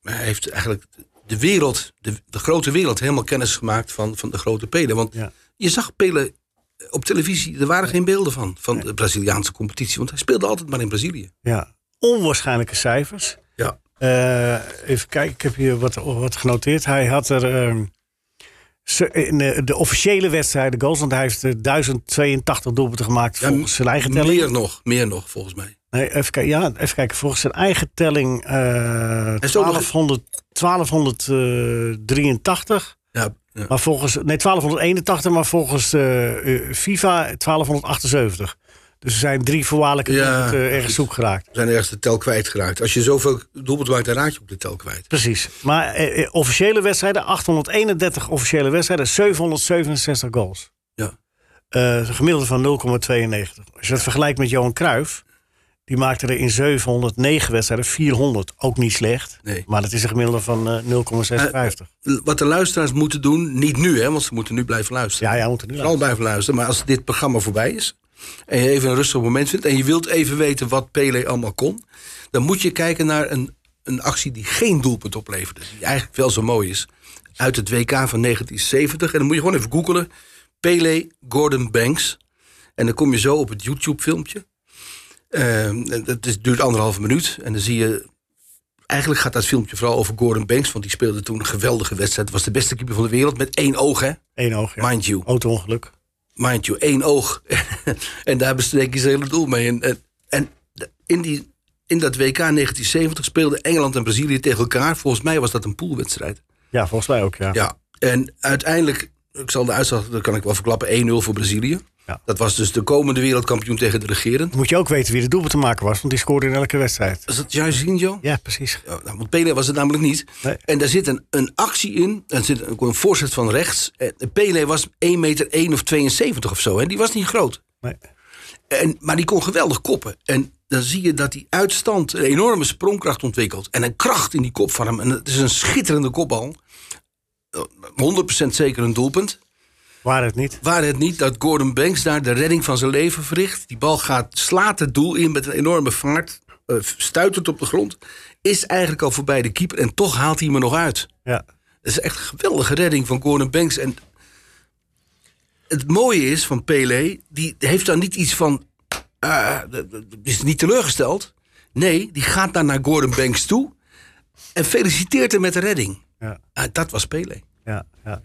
F: hij heeft eigenlijk de wereld, de, de grote wereld, helemaal kennis gemaakt van, van de grote Pele. Want
C: Ja.
F: je zag Pele eh, op televisie, er waren geen beelden van, van de Braziliaanse competitie. Want hij speelde altijd maar in Brazilië.
C: ja. Onwaarschijnlijke cijfers.
F: Ja.
C: Eh, even kijken, ik heb hier wat, wat genoteerd. Hij had er ehm, ze- in eh, de officiële wedstrijden goals, want hij heeft eh, 1082 doelpunten gemaakt
F: Ja,
C: volgens zijn eigen telling.
F: Meer nog, meer nog volgens mij.
C: Nee, even, kijken, ja, even kijken, volgens zijn eigen telling eh
F: is ook nog-
C: 1200, 1283.
F: Ja, ja.
C: Maar volgens, nee, 1281, maar volgens eh, eh, FIFA 1278. Dus er zijn drie voorwaardelijke
F: Ja,
C: doelpunten, eh, ergens
F: precies.
C: zoek geraakt.
F: We zijn ergens de tel kwijtgeraakt. Als je zoveel doelpunten maakt, dan raak je op de tel kwijt.
C: Precies. Maar eh, eh, officiële wedstrijden, 831 officiële wedstrijden, 767 goals.
F: Ja.
C: Eh, een gemiddelde van 0,92. Als je dat vergelijkt met Johan Cruijff, die maakte er in 709 wedstrijden 400. Ook niet slecht,
F: Nee.
C: maar dat is een gemiddelde van eh, 0,56.
F: Wat de luisteraars moeten doen, niet nu, hè, want ze moeten nu blijven luisteren.
C: ja, ja, we moeten nu
F: Vooral blijven luisteren. Maar als dit programma voorbij is. en je even een rustig moment vindt. en je wilt even weten wat Pele allemaal kon. dan moet je kijken naar een, een actie die geen doelpunt opleverde. Die eigenlijk wel zo mooi is. Uit het WK van 1970. En dan moet je gewoon even googelen. Pele Gordon Banks. En dan kom je zo op het YouTube-filmpje. Ehm, en dat is, duurt anderhalve minuut. En dan zie je. Eigenlijk gaat dat filmpje vooral over Gordon Banks. Want die speelde toen een geweldige wedstrijd. Was de beste keeper van de wereld. Met één oog, hè?
C: Eén oog, ja.
F: Mind you
C: Auto-ongeluk.
F: mind you, één oog. en daar besteken ze het hele doel mee. En, en, en de- in, die, in dat WK 1970 speelden Engeland en Brazilië tegen elkaar. Volgens mij was dat een poolwedstrijd.
C: Ja, volgens mij ook, ja.
F: Ja. En uiteindelijk, ik zal de uitslag, dat kan ik wel verklappen, 1-0 voor Brazilië.
C: Ja.
F: Dat was dus de komende wereldkampioen tegen de regerend.
C: Moet je ook weten wie de doelpunt te maken was, want die scoorde in elke wedstrijd.
F: Is dat Jairzinho?
C: Ja, precies.
F: Ja, nou, want Pele was het namelijk niet.
C: Nee.
F: En daar zit een, een actie in. Er zit ook een voorzet van rechts. Eh, Pele was 1 meter 1 of 72 of zo. Hè? Die was niet groot.
C: Nee.
F: En, maar die kon geweldig koppen. En dan zie je dat die uitstand een enorme sprongkracht ontwikkelt. En een kracht in die kop van hem. En het is een schitterende kopbal. Eh, 100% zeker een doelpunt.
C: Waar het niet.
F: Waar het niet dat Gordon Banks daar de redding van zijn leven verricht. Die bal gaat, slaat het doel in met een enorme vaart. eh, stuitend op de grond. Is eigenlijk al voorbij de keeper. En toch haalt hij hem er nog uit.
C: Ja.
F: Dat is echt een geweldige redding van Gordon Banks. En het mooie is van Pele, die heeft daar niet iets van. eh, d- d- is niet teleurgesteld. Nee, die gaat daar naar Gordon Banks toe. En feliciteert hem met de redding.
C: Ja.
F: Ah, dat was Pele.
C: Ja, ja.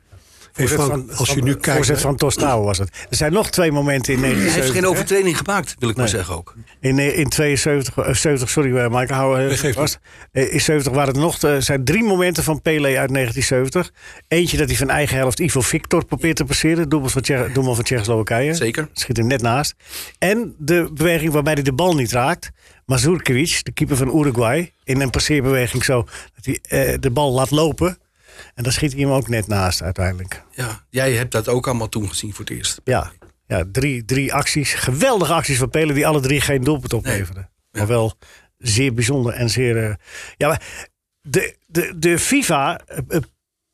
D: Hey Frank,
C: Voorzet van-
D: als je
C: van-
D: nu kijkt...
C: Voorzet van Tostouw was het. Er zijn nog twee momenten in
F: Hij heeft
C: 1970.
F: geen
C: hè?
F: overtreding gemaakt, wil ik maar
C: Nee.
F: zeggen ook.
C: In, eh, in 72, eh, 70, sorry eh, Michael
D: Dat
C: Houwer.
D: geeft
C: Was, eh, in 70 waren er nog eh, zijn drie momenten van Pele uit 1970. Eentje dat hij van eigen helft Ivo Victor probeert te passeren. Doelman van, Tsje- doelman van Tsjechoslowakije.
F: Zeker.
C: Schiet hem net naast. En de beweging waarbij hij de bal niet raakt. Mazurkiewicz, de keeper van Uruguay. In een passeerbeweging zo dat hij eh, de bal laat lopen. En dan schiet hij hem ook net naast uiteindelijk.
F: Ja, jij hebt dat ook allemaal toen gezien voor het eerst.
C: Ja, ja drie, drie acties. Geweldige acties van Pelen die alle drie geen doelpunt opleverden. Maar wel zeer bijzonder en zeer... eh, ja, maar de, de, de FIFA, eh, eh,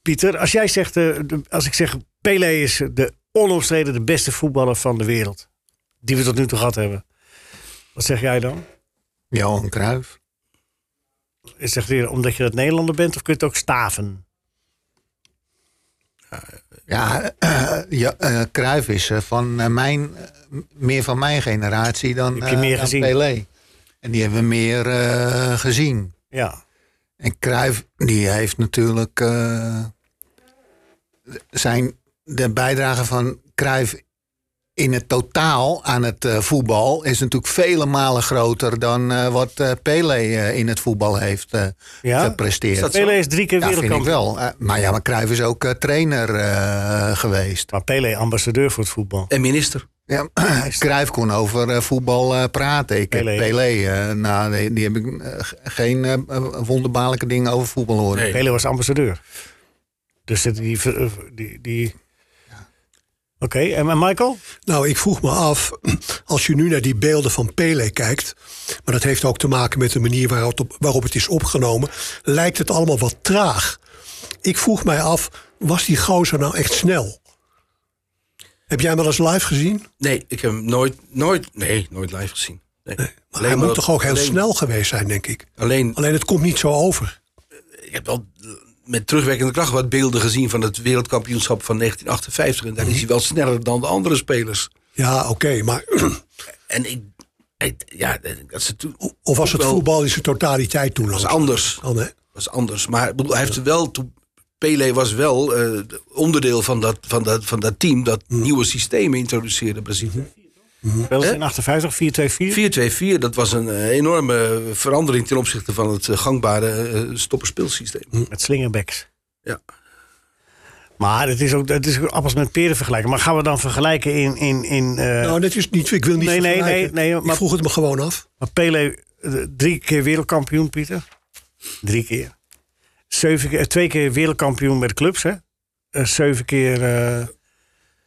C: Pieter, als jij zegt... eh, de- als ik zeg Pele is de onomstreden de beste voetballer van de wereld. Die we tot nu toe gehad hebben. Wat zeg jij dan?
E: Johan Cruijff.
C: Is het weer omdat je dat Nederlander bent of kun je het ook staven?
E: Ja, eh, ja eh, Cruijff is eh, van eh, mijn, eh, m- meer van mijn generatie dan,
C: Heb je
E: eh,
C: meer
E: dan
C: gezien?
E: Pelé. En die hebben we meer eh, gezien.
C: Ja,
E: En Cruijff, die heeft natuurlijk eh, zijn, de bijdrage van Cruijff in het totaal aan het eh, voetbal is natuurlijk vele malen groter dan eh, wat eh Pelé eh, in het voetbal heeft eh,
C: ja?
E: gepresteerd.
F: Is dat zo?
C: Pele is drie keer
E: ja, vind ik
C: wereldkampioen.
E: wel. Eh, maar ja, maar Cruijff is ook eh, trainer eh, geweest.
C: Maar Pele ambassadeur voor het voetbal.
F: En minister.
E: Ja, Cruijff kon over eh, voetbal eh, praten. Ik heb
C: Pelé.
E: Pelé, eh, nou, die, die heb ik eh, g- geen eh, wonderbaarlijke dingen over voetbal horen.
F: Nee.
C: Pele was ambassadeur. Dus het- die. ver- die, die... Oké, en maar Michael?
D: Nou, ik vroeg me af, als je nu naar die beelden van Pele kijkt... maar dat heeft ook te maken met de manier waarop het, op- waarop het is opgenomen... lijkt het allemaal wat traag. Ik vroeg mij af, was die gozer nou echt snel? Heb jij hem wel eens live gezien?
F: Nee, ik heb hem nooit, nooit, nee, nooit live gezien. Nee.
D: Maar hij moet
F: dat-
D: toch ook heel
F: alleen-
D: snel geweest zijn, denk ik.
F: Alleen,
D: Alleen het komt niet zo over.
F: ik heb wel eh, met terugwerkende kracht wat beelden gezien van het wereldkampioenschap van 1958. En daar is hij wel sneller dan de andere spelers.
D: Ja, oké, maar
F: En ik, ik- ja, dat is, natuurlijk-
D: of was het
F: Wel-
D: voetbal in zijn totaliteit toen
F: dat
D: al?
F: is anders.
D: Dan, hè?
F: was anders. Maar ik bedoel, hij heeft er wel toe- Pele was wel eh, onderdeel van dat, van, dat, van dat team dat nieuwe systemen introduceerde Brazilië.
C: Wel eens in 58,
F: Mhm.
C: 4-2-4.
F: 4-2-4, dat was een eh, enorme verandering ten opzichte van het eh, gangbare eh, stopperspeelsysteem.
C: Met slingerbacks.
F: Ja.
C: Maar het is ook, het is ook appels met peren vergelijken. Maar gaan we dan vergelijken in. in, in eh,
D: nou, dat is niet, ik wil niet
C: Nee, nee,
D: vergelijken.
C: nee, nee, maar-
D: Ik vroeg het me gewoon af.
C: maar Pele, eh, drie keer wereldkampioen, Pieter. Drie keer. Zeven keer eh, twee keer wereldkampioen met clubs, hè? Eh, zeven keer. eh, ja,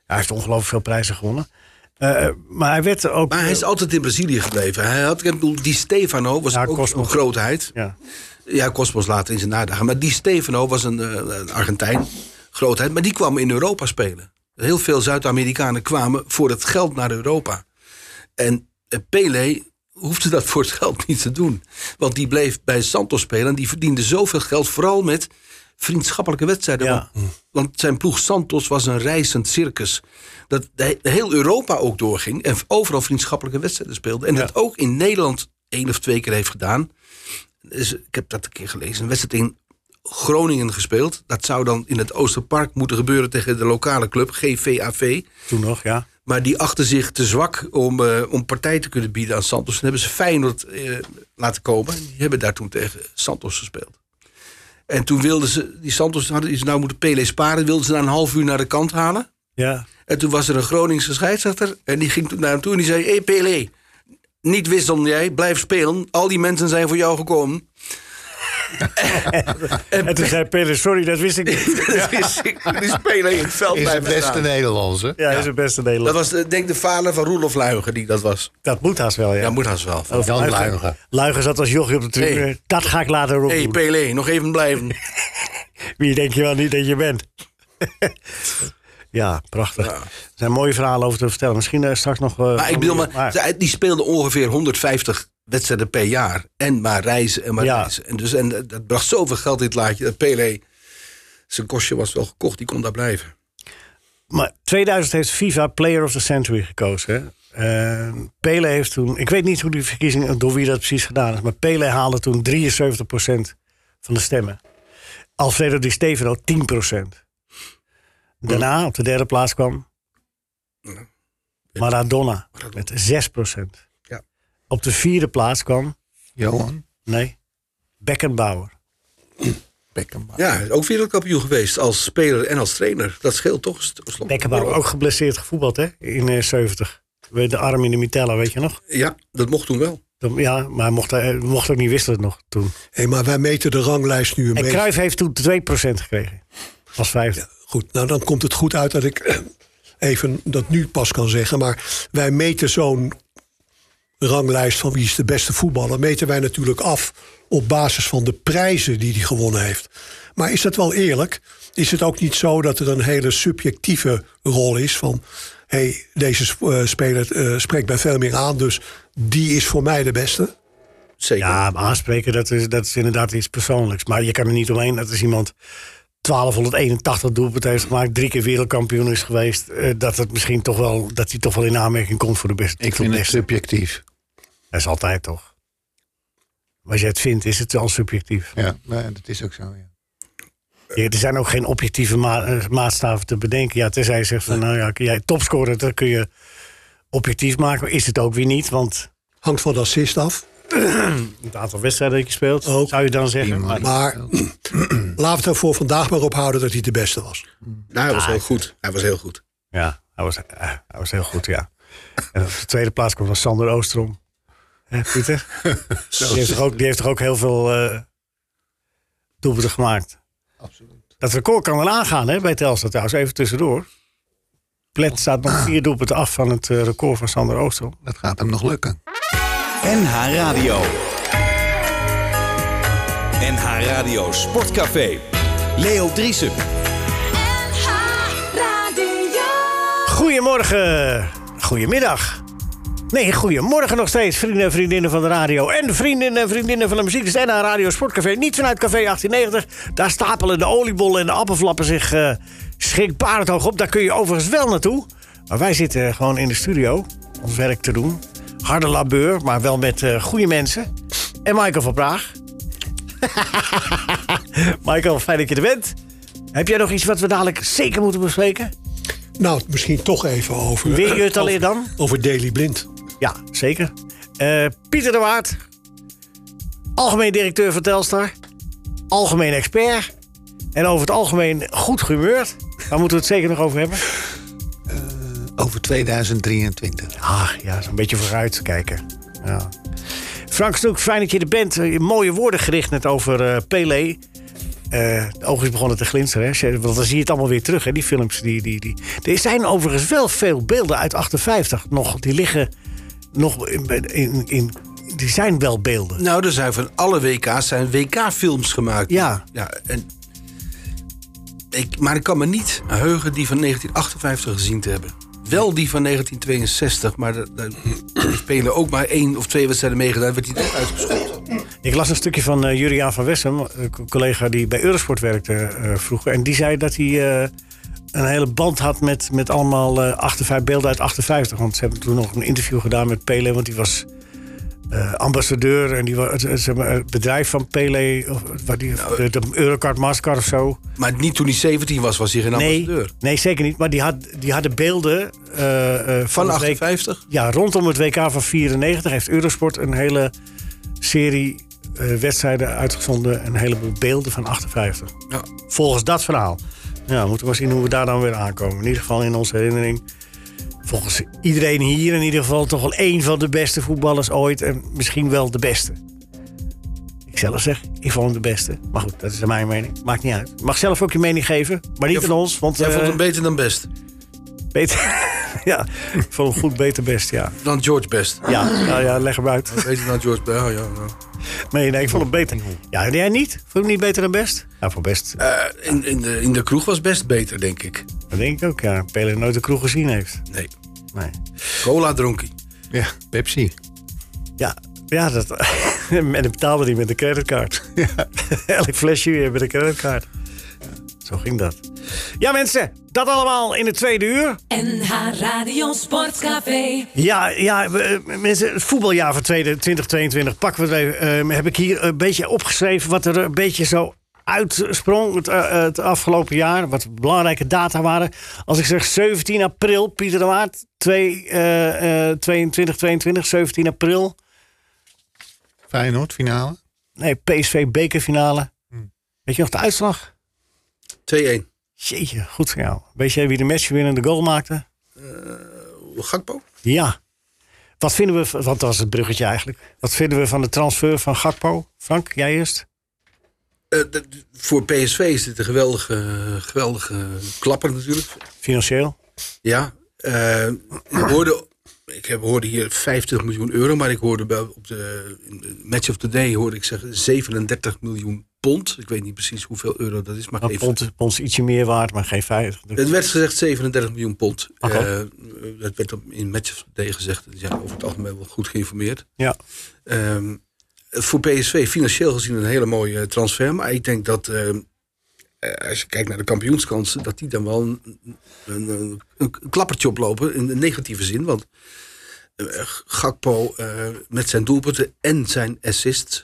C: hij heeft ongelooflijk veel prijzen gewonnen. Eh, maar hij werd ook.
F: Maar hij is altijd in Brazilië gebleven. Hij had, ik bedoel, die Stefano was
C: Ja,
F: ook
C: Cosmos.
F: een grootheid.
C: ja.
F: Ja, Cosmos later in zijn nadagen. Maar die Stefano was een, eh, een Argentijn, grootheid. Maar die kwam in Europa spelen. Heel veel Zuid-Amerikanen kwamen voor het geld naar Europa. En eh, Pele hoefde dat voor het geld niet te doen. Want die bleef bij Santos spelen. En die verdiende zoveel geld, vooral met vriendschappelijke wedstrijden.
C: Ja.
F: Want, want zijn ploeg Santos was een reizend circus. Dat de- heel Europa ook doorging. En overal vriendschappelijke wedstrijden speelde. En dat ook in Nederland één of twee keer heeft gedaan. Dus ik heb dat een keer gelezen. Een wedstrijd in Groningen gespeeld. Dat zou dan in het Oosterpark moeten gebeuren tegen de lokale club, GVAV.
C: Toen nog, ja.
F: Maar die achten zich te zwak om, eh, om partij te kunnen bieden aan Santos. En hebben ze Feyenoord eh, laten komen. Die hebben daar toen tegen Santos gespeeld. En toen wilden ze, die Santos hadden die ze nou moeten Pele sparen, wilden ze na een half uur naar de kant halen.
C: Ja.
F: En toen was er een Groningse scheidsrechter. En die ging toen naar hem toe en die zei: Hé hey, Pele, niet wisselen jij, blijf spelen. Al die mensen zijn voor jou gekomen.
C: En toen zei Pele, sorry, dat wist ik niet.
F: Dat is, Dus die spelen in het veld
E: Is
F: blijven
E: het beste
F: staan.
E: Nederlandse.
C: Ja, hij is het beste
F: Dat
C: Nederlander.
F: was eh, denk ik de vader van Roelof Luigen die dat was. Oh,
C: Dat moet haast wel, ja.
F: Ja, moet haast wel.
C: Of
E: Jan
C: Luigen.
E: Luigen.
C: Luigen zat als jochie op de tribune.
F: Hey.
C: Dat ga ik later
F: Hé,
C: ook
F: hey,
C: doen.
F: Pele, nog even blijven.
C: Wie denk je wel niet dat je bent? ja, prachtig. Er zijn mooie verhalen over te vertellen. Misschien eh, straks nog... eh,
F: Maar ik bedoel, maar,
C: maar-
F: ze- die speelde ongeveer 150 wedstrijden per jaar. En maar reizen en maar
C: Ja.
F: reizen. En, dus, en eh, dat bracht zoveel geld in het laadje. Dat Pele, zijn kostje was wel gekocht, die kon daar blijven.
C: Maar 2000 heeft FIFA Player of the Century gekozen. Hè? Eh, Pele heeft toen, ik weet niet hoe die verkiezing, door wie dat precies gedaan is, maar Pele haalde toen 73% van de stemmen. Alfredo Di Stefano 10%. Daarna op de derde plaats kwam Maradona met 6%.
F: Ja.
C: Op de vierde plaats kwam,
E: Johan
C: nee, Beckenbauer.
E: Beckenbauer.
F: Ja, hij is ook wereldkampioen geweest als speler en als trainer. Dat scheelt toch? St- slot-
C: Beckenbauer ook geblesseerd gevoetbald hè, in eh, 70. Met de arm in de mitella, weet je nog?
F: Ja, dat mocht toen wel.
C: Dan- Ja, maar hij mocht, hij mocht ook niet wisselen nog toen.
D: Hé, maar wij meten de ranglijst nu een
C: En
D: beetje.
C: Cruijff heeft toen 2% gekregen. Als vijfde.
D: Goed, nou dan komt het goed uit dat ik eh, even dat nu pas kan zeggen. Maar wij meten zo'n ranglijst van wie is de beste voetballer... meten wij natuurlijk af op basis van de prijzen die hij gewonnen heeft. Maar is dat wel eerlijk? Is het ook niet zo dat er een hele subjectieve rol is van... hé, hey, deze eh, speler eh, spreekt mij veel meer aan, dus die is voor mij de beste?
F: Zeker.
C: Ja, maar aanspreken, dat is, dat is inderdaad iets persoonlijks. Maar je kan er niet omheen. Dat is iemand 1281 doelpunten heeft gemaakt, drie keer wereldkampioen is geweest. eh, dat het misschien toch wel, dat hij toch wel in aanmerking komt voor de beste.
E: Ik
C: tot
E: vind het
C: beste.
E: subjectief.
C: Dat is altijd toch. Maar als je het vindt, is het wel subjectief.
E: Ja, nee, dat is ook zo. Ja.
C: Je- er zijn ook geen objectieve ma- eh, maatstaven te bedenken. Ja, tenzij je zegt van, nou ja, kun jij topscorer, dat kun je objectief maken. Is het ook weer niet, want
D: Hangt van de assist af.
C: het aantal wedstrijden dat je speelt,
D: Ook.
C: zou je dan zeggen.
E: Iemand.
C: Maar-
D: Maar laten we er voor vandaag maar op houden dat hij de beste was.
F: Nou, hij was heel goed. Hij was heel goed.
C: Ja, hij was, eh, hij was heel goed, ja. En op de tweede plaats komt dan Sander Oostrom. Hè, Pieter? die, heeft toch ook, die heeft toch ook heel veel eh doelpunten gemaakt.
E: Absoluut.
C: Dat record kan wel aangaan hè, bij Telstra trouwens, even tussendoor. Plet staat nog vier doelpunten af van het eh, record van Sander Oostrom.
E: Dat gaat hem nog lukken.
B: NH Radio. NH Radio Sportcafé. Leo Driesen.
A: Radio.
C: Goedemorgen, goedemiddag. Nee, goedemorgen nog steeds, vrienden en vriendinnen van de radio. En vrienden en vriendinnen van de muziek. Dus en aan Radio Sportcafé, niet vanuit Café 1890. Daar stapelen de oliebollen en de appelflappen zich eh schrikbarend hoog op. Daar kun je overigens wel naartoe. Maar wij zitten gewoon in de studio, ons werk te doen. Harde labeur, maar wel met eh, goede mensen. En Michael van Praag. Michael, fijn dat je er bent. Heb jij nog iets wat we dadelijk zeker moeten bespreken?
D: Nou, misschien toch even over. eh,
C: Wil je het alweer dan?
D: Over Daily Blind.
C: Ja, zeker. Eh, Pieter de Waard, algemeen directeur van Telstar, algemeen expert en over het algemeen goed gemeurd. Daar moeten we het zeker nog over hebben.
E: Over 2023.
C: Ah, ja, zo'n beetje vooruit kijken. Ja. Frank Snoek, fijn dat je er bent. Eh, Mooie woorden gericht net over eh Pelé. Eh de ogen is begonnen te glinsteren. Hè? Ze- Want dan zie je het allemaal weer terug, hè? die films. Die, die, die. Er zijn overigens wel veel beelden uit 58 nog. Die liggen nog in... in, in die zijn wel beelden.
F: Nou, er zijn van alle WK's zijn WK-films gemaakt.
C: Ja.
F: ja en ik, maar ik kan me niet heugen die van 1958 gezien te hebben. Wel die van 1962, maar daar- daar spelen ook maar één of twee wedstrijden meegedaan. werd die toch uitgeschoten.
C: Ik las een stukje van eh, Juriaan van Wessem, een co- collega die bij Eurosport werkte eh, vroeger. En die zei dat hij eh, een hele band had met, met allemaal eh 58, beelden uit 58. Want ze hebben toen nog een interview gedaan met Pele, want die was eh, ambassadeur. En die was, het, het- zeg maar, het bedrijf van Pele, of, waar die,
F: Nou,
C: de, de Eurocard Mastercard of zo.
F: Maar niet toen hij 17 was, was hij geen
C: Nee,
F: ambassadeur.
C: nee, zeker niet. Maar die, had, die hadden beelden eh, eh,
F: Van
C: het week-
F: 58?
C: ja, rondom het WK van 94 heeft Eurosport een hele serie eh, wedstrijden uitgezonden. en Een heleboel beelden van 58.
F: Ja.
C: Volgens dat verhaal. Ja, we moeten maar zien hoe we daar dan weer aankomen. In ieder geval in onze herinnering. Volgens iedereen hier in ieder geval toch wel één van de beste voetballers ooit. En misschien wel de beste. Ik zelf zeg, ik vond hem de beste. Maar goed, dat is mijn mening. Maakt niet uit. Je Mag zelf ook je mening geven, maar niet
F: Jij
C: aan ons. Want
F: Jij
C: eh,
F: vond hem beter dan Best.
C: beter. ja, ik vond hem goed, beter, best, ja.
F: Dan George Best.
C: Ja, nou ja, leg hem uit.
F: Beter dan George Best. Ja, ja, ja.
C: Nee, nee, ik vond hem beter. Ja, en jij niet? Vond je hem niet beter dan best? Ja, voor best.
F: Eh, in, in, de, in de kroeg was Best beter, denk ik.
C: Dat denk ik ook, ja. Pele nooit de kroeg gezien heeft.
F: Nee.
C: Nee.
F: Cola dronk hij.
E: Ja, Pepsi.
C: Ja, ja dat... en dan betaalde hij met een creditcard. Elk flesje weer met een creditcard. Zo ging dat. Ja, mensen. Dat allemaal in het tweede uur.
A: NH Radio Sportcafé.
C: Ja, ja we, eh, mensen, het voetbaljaar van 2022 pakken we het even. Ehm, heb ik hier een beetje opgeschreven wat er een beetje zo uitsprong het, eh, eh, het afgelopen jaar. Wat belangrijke data waren. Als ik zeg 17 april, Pieter de Waard, 2, eh, eh, 22, 22, 17 april.
E: Feyenoord, finale.
C: Nee, PSV bekerfinale.
F: Hm.
C: Weet je nog de uitslag?
F: 2-1.
C: Jeetje, goed voor jou. Weet jij wie de matchwinnende goal maakte?
F: Gakpo?
C: Ja. Wat vinden we, van- want dat was het bruggetje eigenlijk. Wat vinden we van de transfer van Gakpo? Frank, jij eerst?
F: Eh, dat- voor PSV is dit een geweldige, geweldige klapper natuurlijk.
C: Financieel?
F: Ja, eh, ik hoorde, ik heb, hoorde hier 50 miljoen euro, maar ik hoorde bij, op de in de Match of the Day hoorde ik zeggen 37 miljoen pond. Ik weet niet precies hoeveel euro dat is, maar
C: Nou,
F: even.
C: pond, pond is ietsje meer waard, maar geen 50.
F: Het werd gezegd 37 miljoen pond.
C: Oké.
F: Eh, dat werd op- in Match of the Day gezegd. Die zijn over het algemeen wel goed geïnformeerd.
C: Ja.
F: Ehm, voor PSV financieel gezien een hele mooie transfer. Maar ik denk dat ehm, eh, als je kijkt naar de kampioenskansen, dat die dan wel een, een, een, een klappertje oplopen. In de negatieve zin. Want eh, Gakpo eh, met zijn doelpunten en zijn assists.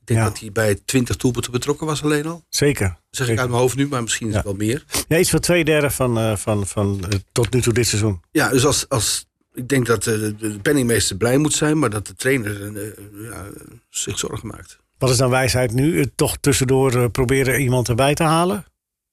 F: Ik denk
C: Ja.
F: dat hij bij 20 doelpunten betrokken was alleen al.
C: Zeker.
F: Dat zeg ik uit mijn hoofd nu, maar misschien is het wel meer.
C: Ja, iets van twee derde van, eh, van, van eh, tot nu toe dit seizoen.
F: Ja, dus als, als ik denk dat eh, de, de penningmeester blij moet zijn, maar dat de trainer eh, ja, zich zorgen maakt.
C: Wat is dan wijsheid nu? Eh, toch tussendoor eh, proberen iemand erbij te halen?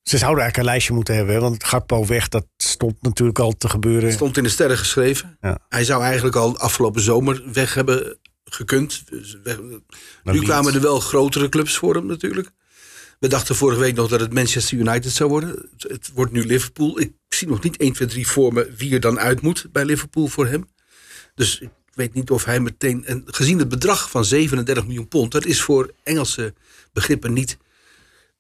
C: Ze zouden eigenlijk een lijstje moeten hebben, hè, want Gakpo weg, dat stond natuurlijk al te gebeuren.
F: Het stond in de sterren geschreven.
C: Ja.
F: Hij zou eigenlijk al afgelopen zomer weg hebben gekund. Dus weg- nu
C: Leeds.
F: kwamen er wel grotere clubs voor hem natuurlijk. We dachten vorige week nog dat het Manchester United zou worden. Het, het wordt nu Liverpool. Ik zie nog niet 1, 2, 3 voor me wie er dan uit moet bij Liverpool voor hem. Dus ik weet niet of hij meteen... En gezien het bedrag van 37 miljoen pond... dat is voor Engelse begrippen niet,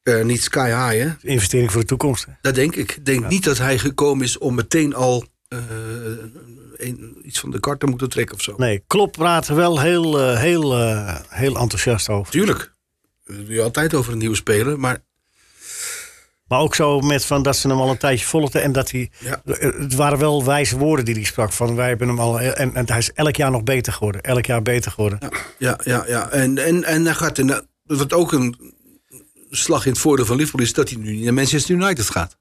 F: eh, niet sky high. Hè?
C: Investering voor de toekomst. hè.
F: Dat denk ik. Ik denk niet dat hij gekomen is om meteen al eh, een- iets van de kart te moeten trekken of zo.
C: Nee, Klop praat er wel heel, eh, heel, eh, heel enthousiast over.
F: Tuurlijk. We doen je altijd over een nieuwe speler. Maar
C: Maar ook zo met van dat ze hem al een tijdje volgden. En dat hij.
F: Ja.
C: Het waren wel wijze woorden die hij sprak. Van wij hebben hem al. En, en hij is elk jaar nog beter geworden. Elk jaar beter geworden.
F: ja, ja, ja. ja. En, en, en dan gaat hij na- wat ook een slag in het voordeel van Liverpool is... dat hij nu niet naar Manchester United gaat.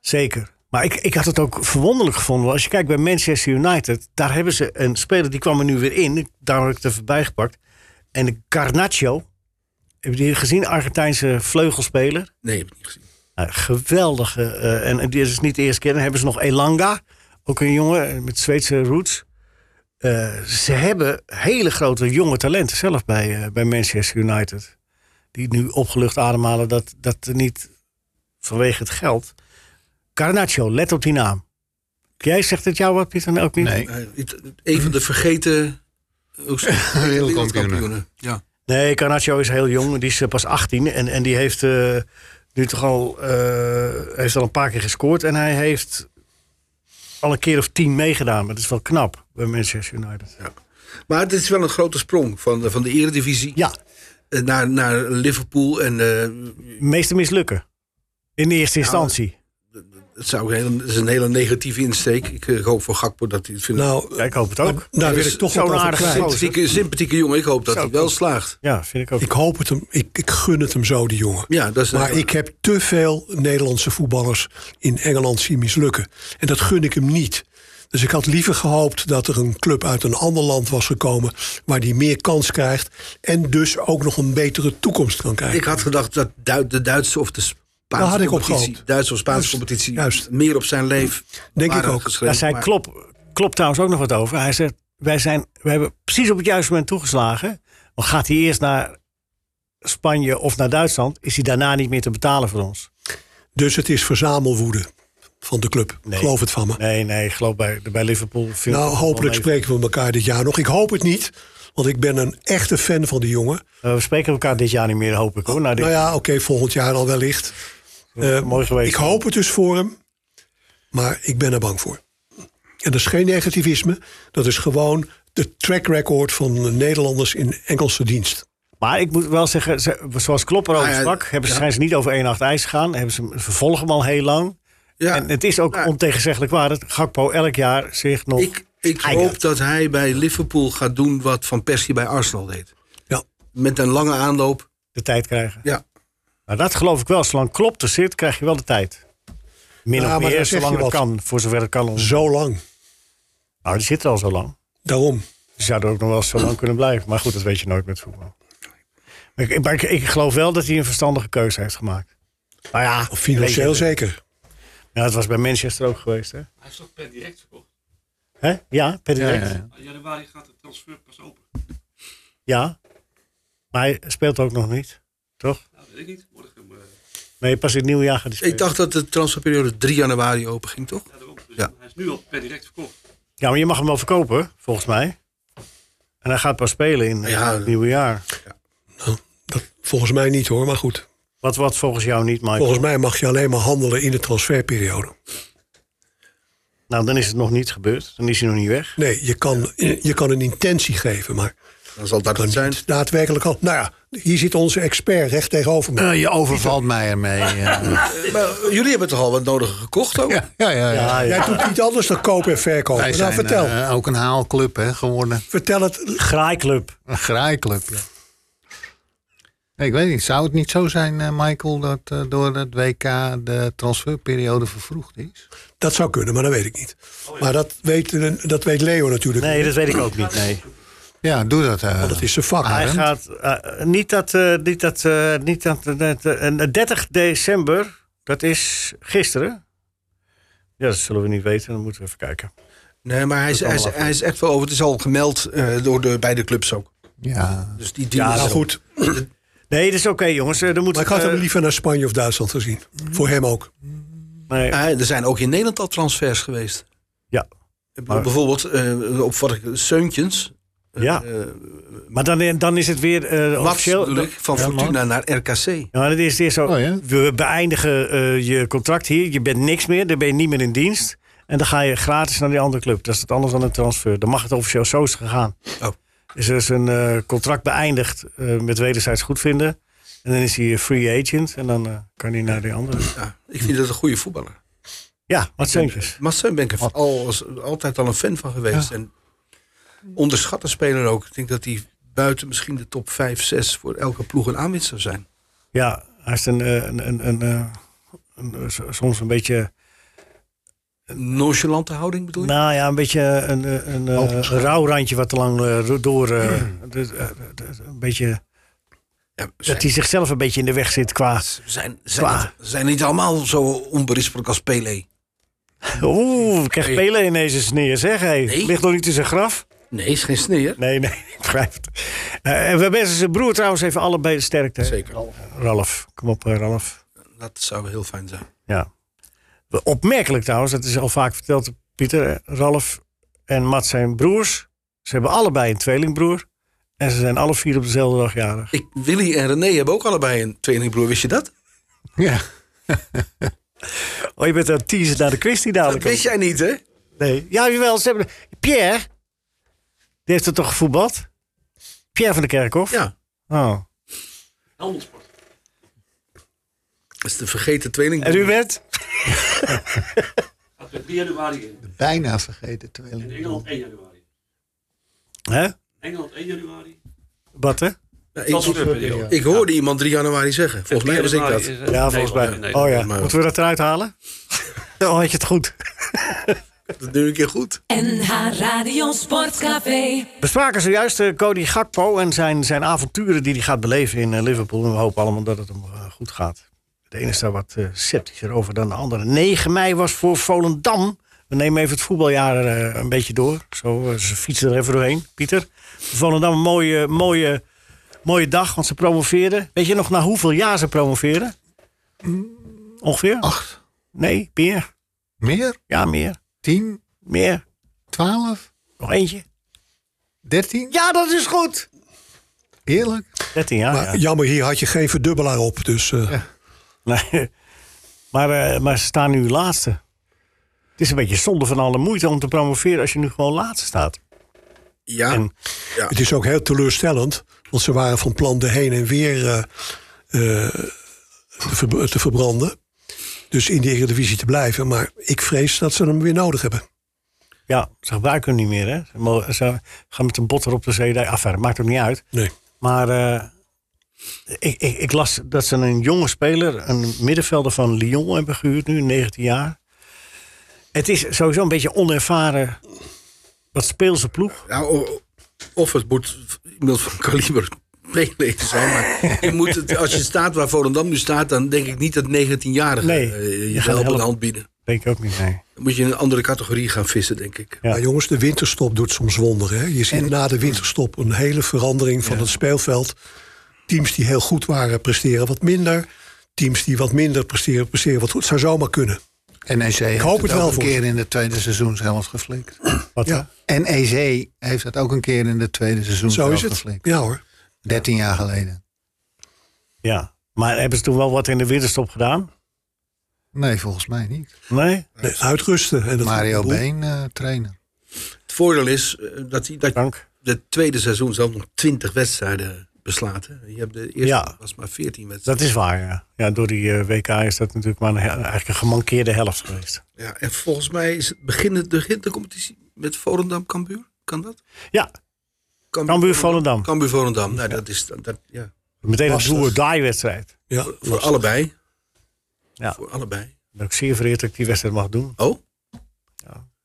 C: Zeker. Maar ik, ik had het ook verwonderlijk gevonden. want Als je kijkt bij Manchester United. Daar hebben ze een speler. Die kwam er nu weer in. Daar heb ik het er voorbij gepakt. En de Carnacho. Heb je die gezien? Argentijnse vleugelspeler.
F: Nee, heb ik niet gezien.
C: Nou, geweldige. eh, en, en dit is niet de eerste keer. Dan hebben ze nog Elanga. Ook een jongen met Zweedse roots. Eh, ze hebben hele grote jonge talenten zelf bij, eh, bij Manchester United. Die nu opgelucht ademhalen dat, dat er niet vanwege het geld. Carnaccio, let op die naam. Jij zegt het jou wat, Pieter? Ook niet?
E: Nee,
F: Hij- het- Een van de vergeten... eh, hoe zeg je dat?
E: Wereldkampioenen.
F: Wereldkampioenen. Ja.
C: Nee, Carnaccio is heel jong. Die is eh, pas 18. En, en die heeft eh, nu toch al, eh, heeft al een paar keer gescoord. En hij heeft al een keer of tien meegedaan. Maar dat is wel knap bij Manchester United.
F: Maar het is wel een grote sprong van de, van de eredivisie...
C: Ja,
F: eh, Naar, naar Liverpool en eh,
C: de meeste mislukken. In de eerste instantie.
F: Het, zou een hele, het is een hele negatieve insteek. Ik eh, hoop voor Gakpo dat hij het vindt.
D: Nou,
C: Ja, ik hoop het ook.
D: daar wil
F: is
D: ik toch
C: zo'n
D: wat over
C: aardige
D: kwijt.
C: gozer.
F: sympathieke, sympathieke jongen. Ik hoop dat
C: Zo,
F: hij wel slaagt.
C: Ja, vind ik ook.
D: Ik hoop het hem, ik, ik gun het hem zo, die jongen.
F: Ja, dat is
D: Maar ik heb te veel Nederlandse voetballers in Engeland zien mislukken. En dat gun ik hem niet. Dus ik had liever gehoopt dat er een club uit een ander land was gekomen... waar die meer kans krijgt en dus ook nog een betere toekomst kan krijgen.
F: ik had gedacht dat Du- de Duitse of de Spaanse
D: Daar had ik op
F: competitie,
D: gehoopt.
F: Duitse of Spaanse
D: Juist,
F: competitie
D: juist.
F: meer op zijn leef
D: Denk
F: waren
D: ik ook.
F: geschreven.
C: Daar zei
F: Maar
C: Klop, Klop trouwens ook nog wat over. Hij zegt, wij, zijn, wij hebben precies op het juiste moment toegeslagen. Want gaat hij eerst naar Spanje of naar Duitsland... is hij daarna niet meer te betalen voor ons.
D: Dus het is verzamelwoede van de club.
C: Nee.
D: Geloof het van me.
C: Nee, nee, ik geloof bij, bij Liverpool. viel
D: Nou,
C: het wel
D: hopelijk
C: mee.
D: spreken we elkaar dit jaar nog. Ik hoop het niet, want ik ben een echte fan van die jongen.
C: Eh, we spreken elkaar dit jaar niet meer, hoop ik hoor. Nou, dit
D: Nou ja, oké, volgend jaar al wellicht. Eh,
C: mooi geweest.
D: Ik hoop het dus voor hem, maar ik ben er bang voor. En dat is geen negativisme, dat is gewoon de track record van de Nederlanders in Engelse dienst.
C: Maar ik moet wel zeggen, ze- zoals Klopp erover
D: Nou
F: Ah ja,
C: sprak, hebben ze,
F: ja.
C: zijn ze niet over 1-8 ijs gegaan. Hebben ze, ze volgen hem al heel lang.
F: Ja.
C: En het is ook
F: Nou,
C: ontegenzeggelijk waar dat Gakpo elk jaar zich nog...
F: Ik, ik
C: Hij
F: hoop dat hij bij Liverpool gaat doen wat Van Persie bij Arsenal deed.
D: Ja.
F: Met een lange aanloop.
C: de tijd krijgen.
F: Ja.
C: Nou, dat geloof ik wel. Zolang klopt er zit, krijg je wel de tijd. Min
D: Ja,
C: of
D: maar dan
C: meer,
D: zeg je
C: zolang het
D: wat.
C: kan. Voor zover het kan. Nou,
D: Zo lang.
C: die zit er al zo lang.
D: Daarom.
C: Ze zouden ook nog wel zo lang kunnen blijven. Maar goed, dat weet je nooit met voetbal. Maar ik, maar ik, ik geloof wel dat hij een verstandige keuze heeft gemaakt. Nou ja,
D: Of financieel
C: weet je-
D: zeker.
C: Ja, dat was bij Manchester ook geweest, hè?
G: Hij is toch per direct verkocht?
C: Hè? Ja, per direct. Ja,
E: Ja, ja.
G: In januari gaat de transfer pas open.
C: Maar hij speelt ook nog niet, toch?
G: Nou, weet ik niet. Morgen eh
C: Nee, pas in het nieuwe jaar gaat hij spelen.
F: Ik dacht dat de transferperiode 3 januari open ging, toch?
G: ja, daarom. Dus
F: Ja.
G: Hij is nu al per direct verkocht.
C: Ja, maar je mag hem wel verkopen, volgens mij. En hij gaat pas spelen in eh,
F: Ja.
C: het nieuwe jaar.
D: Dat, volgens mij niet hoor, maar goed.
C: Wat, wat volgens jou niet, Michael?
D: Volgens mij mag je alleen maar handelen in de transferperiode.
C: Nou, dan is het nog niet gebeurd. Dan is hij nog niet weg.
D: Nee, je kan, je kan een intentie geven, maar
F: Dan zal dat
D: kan
F: het zijn.
D: niet daadwerkelijk al. Nou ja, hier zit onze expert recht tegenover me.
E: Eh, je overvalt mij ermee. eh.
F: Maar jullie hebben toch al wat nodige gekocht ook?
E: ja, ja, ja. Ah, ja.
D: Jij doet niet anders dan kopen en verkopen.
E: Wij
D: nou,
E: zijn
D: vertel.
E: eh, ook een haalclub hè, geworden.
D: vertel het.
C: Graaiclub.
E: Een graaiclub. Ja. Ik weet niet, zou het niet zo zijn, eh, Michael, dat eh, door het WK de transferperiode vervroegd is?
D: Dat zou kunnen, maar dat weet ik niet. Maar dat weet, dat weet Leo natuurlijk.
C: Nee, dat weet ik ook niet, nee.
E: Ja, doe dat. eh.
D: Want dat is zijn vak.
C: Hij
E: Arend.
C: gaat eh, niet dat, eh, niet dat, eh, niet dat, dat, eh, en, eh, 30 december, dat is gisteren. Ja, dat zullen we niet weten, dan moeten we even kijken.
F: Nee, maar hij is, hij, is, hij is echt wel over. Het is al gemeld eh, door de beide clubs ook.
E: Ja.
F: Dus die, die
D: Nou goed,
C: Nee, dat is oké jongens. eh, Dan moet
D: maar ik had hem liever naar Spanje of Duitsland gezien. Voor hem ook.
C: nee,
F: Eh, er zijn ook in Nederland al transfers geweest.
C: ja.
F: Ik bedoel,
C: Maar-
F: Bijvoorbeeld eh, op wat ik Seuntjens.
C: ja. maar dan, dan is het weer eh
F: Mats
C: officieel.
F: bedoel ik, van
C: Ja,
F: Fortuna naar RKC.
C: Ja, maar het is, het is zo.
E: Oh, ja?
C: We beëindigen eh, je contract hier. Je bent niks meer. Dan ben je niet meer in dienst. En dan ga je gratis naar die andere club. Dat is het anders dan een transfer. Dan mag het officieel zo is gegaan.
F: Oh.
C: Dus er is een eh, contract beëindigd eh, met wederzijds goedvinden. En dan is hij een free agent. En dan eh, kan hij naar die andere.
F: Ja, ik vind dat een goede voetballer.
C: Ja, wat centjes.
F: Mats Seun ben ik er al, als- altijd al een fan van geweest. En onderschatte speler ook. Ik denk dat hij buiten misschien de top 5, 6 voor elke ploeg een aanwinst zou zijn.
C: Ja, hij is een, eh, een, een, een, eh, een, eh, s- soms een beetje...
F: Nonchalante houding bedoel je?
C: Nou ja, een beetje een, een, een, eh, een rauw randje wat te lang eh, ro- door... eh,
F: Hmm.
C: dus, eh, d- d- een beetje...
F: Ja,
C: Dat
F: zijn,
C: hij zichzelf een beetje in de weg zit qua...
F: zijn, zijn, niet, zijn niet allemaal zo onberispelijk als Pelé?
C: Oeh, ik krijg
F: Hey.
C: Pele in deze sneer, zeg. Hey.
F: Nee.
C: Ligt nog niet in zijn graf?
F: Nee, is geen sneer.
C: Nee, nee, ik begrijp het. Eh, en we wensen zijn broer trouwens even allebei de sterkte. hè?
F: Zeker.
C: Ralf, kom op eh, Ralf.
F: Dat zou heel fijn zijn.
C: Ja. Opmerkelijk trouwens, dat is al vaak verteld, Pieter. eh, Ralf en Mats zijn broers. Ze hebben allebei een tweelingbroer. En ze zijn alle vier op dezelfde dag jarig.
F: Ik, Willy en René hebben ook allebei een tweelingbroer, wist je dat?
E: ja.
C: Oh, je bent aan het teasen naar de quiz die
F: Dat
C: dadelijk
F: wist jij niet, hè?
C: komt. Nee. Ja, jawel. Ze hebben... Pierre, die heeft er toch gevoetbald? Pierre van de Kerkhof?
F: Ja.
C: Oh.
G: Helmelsport.
F: Dat is de vergeten tweelingbroer.
C: En u bent?
G: Gaat per 3 januari in.
E: Bijna vergeten
G: In
E: tweeling.
G: Engeland 1 januari.
C: Hè?
G: Engeland 1 januari.
C: Wat, hè?
F: Nou, ik,
G: Transferperiode.
F: ik hoorde iemand 3 januari zeggen. Volgens mij was ik dat.
C: Ja, volgens mij. Oh ja,
F: maar-
C: moeten we dat eruit halen? Oh, had je het goed.
F: Dat doe ik een keer goed.
A: NH Radio Sportcafé.
C: We spraken zojuist eh, Cody Gakpo en zijn, zijn avonturen die hij gaat beleven in eh, Liverpool. En we hopen allemaal dat het hem eh, goed gaat. De ene is daar wat eh, sceptischer over dan de andere. 9 mei was voor Volendam. We nemen even het voetbaljaar eh, een beetje door. Zo, eh, ze fietsen er even doorheen, Pieter. Voor Volendam een mooie, mooie, mooie dag, want ze promoveerden. Weet je nog na hoeveel jaar ze promoveerden? Ongeveer?
E: Acht.
C: Nee, meer.
E: Meer?
C: Ja, meer.
E: Tien?
C: Meer.
E: Twaalf?
C: Nog eentje.
E: Dertien?
C: Ja, dat is goed.
E: Eerlijk?
C: 13 jaar.
D: Maar
C: ja.
D: jammer, hier had je geen verdubbelaar op. Dus eh,
C: Nee. Maar, eh, maar ze staan nu laatste. Het is een beetje zonde van alle moeite om te promoveren als je nu gewoon laatste staat.
F: Ja,
C: En-
D: het is ook heel teleurstellend. Want ze waren van plan de heen en weer eh, eh, te, ver- te verbranden. dus in de Eredivisie te blijven. Maar ik vrees dat ze hem weer nodig hebben.
C: Ja, ze gebruiken hem niet meer. Hè? Ze, mogen- ze gaan met een botter op de zee. Af, maakt ook niet uit.
D: Nee.
C: Maar eh, ik, ik, ik las dat ze een jonge speler, een middenvelder van Lyon hebben gehuurd nu, 19 jaar. Het is sowieso een beetje onervaren wat speelse ploeg.
F: Nou, o- of het moet iemand van kaliber Pele zijn. Maar je moet het, als je staat waar Volendam nu staat, dan denk ik niet dat 19-jarigen
C: Nee,
F: eh,
C: je
F: je
C: gaat
F: helpen de
C: helpen.
F: hand bieden.
C: Denk ik ook niet, nee.
F: Dan moet je in een andere categorie gaan vissen, denk ik.
C: Ja.
D: Maar jongens, de winterstop doet soms wonderen. Hè? Je ziet na de winterstop een hele verandering van het speelveld. Teams die heel goed waren, presteren wat minder. Teams die wat minder presteren, presteren wat goed. Het zou zomaar kunnen.
E: NEC E heeft
D: hoop het
E: ook
D: wel
E: een
D: voor
E: keer in het tweede seizoen zelf geflikt.
C: Wat,
D: Ja,
E: NEC heeft dat ook een keer in het tweede seizoen
D: zo
E: zelf
D: is het.
E: geflikt.
D: Ja hoor.
E: 13 jaar geleden.
C: ja. Maar hebben ze toen wel wat in de winterstop gedaan?
E: Nee, volgens mij niet.
C: Nee?
D: Nee, uitrusten. En dat
E: Mario
D: boel.
E: Been eh trainen.
F: Het voordeel is eh, dat, hij- dat
C: Dank.
F: het tweede seizoen zelf nog 20 wedstrijden beslaat. Hè? Je hebt de eerste
C: Ja.
F: was maar 14 wedstrijden.
C: Dus Dat is waar, ja. ja door die eh, WK is dat natuurlijk maar een, he- eigenlijk een gemankeerde helft geweest.
F: Ja, en volgens mij is het begin, begint de competitie met Volendam Cambuur. Kan dat?
C: Ja, Cambuur Volendam.
F: Cambuur Volendam. Nou, dat is dan- dat, ja.
C: Meteen een
D: Lastig.
C: do-or-die-wedstrijd.
D: Ja,
F: voor, voor allebei.
C: Ja.
F: Voor allebei.
C: Ik ben ook zeer vereerd dat ik die wedstrijd mag doen.
F: Oh?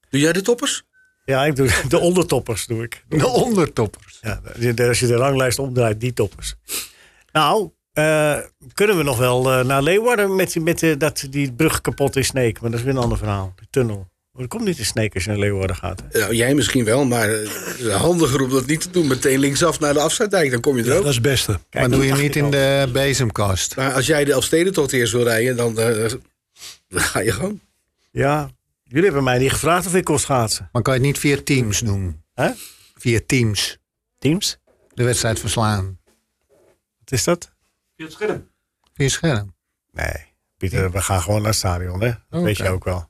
F: Doe jij de toppers?
C: Ja, ik doe de ondertoppers doe ik.
E: De ondertoppers.
C: Ja, de- de- als je de ranglijst omdraait, die toppers. Nou, eh, kunnen we nog wel eh, naar Leeuwarden met, die- met de- dat die brug kapot is Sneek. Maar dat is weer een ander verhaal. Die tunnel. Maar dat komt niet in Sneek als je naar Leeuwarden gaat. hè?
F: Nou, jij misschien wel, maar eh, het is handiger om dat niet te doen. Meteen linksaf naar de afsluitdijk, dan kom je er ook.
D: dat is het beste.
C: Kijk,
E: maar doe je
C: dat
E: niet
C: dacht
E: in
C: ik al.
E: de bezemkast.
F: Maar als jij de Elfstedentocht eerst wil rijden, dan, eh, dan ga je gewoon.
C: Ja, jullie hebben mij niet gevraagd of ik kon schaatsen.
E: Maar kan je het niet via teams doen?
C: Hè?
E: Via teams.
C: Teams?
E: De wedstrijd verslaan.
C: Wat is dat?
G: Via het scherm.
E: Via scherm.
C: Nee, Pieter, we gaan gewoon naar het stadion, hè? Dat
E: Oké.
C: weet je ook wel.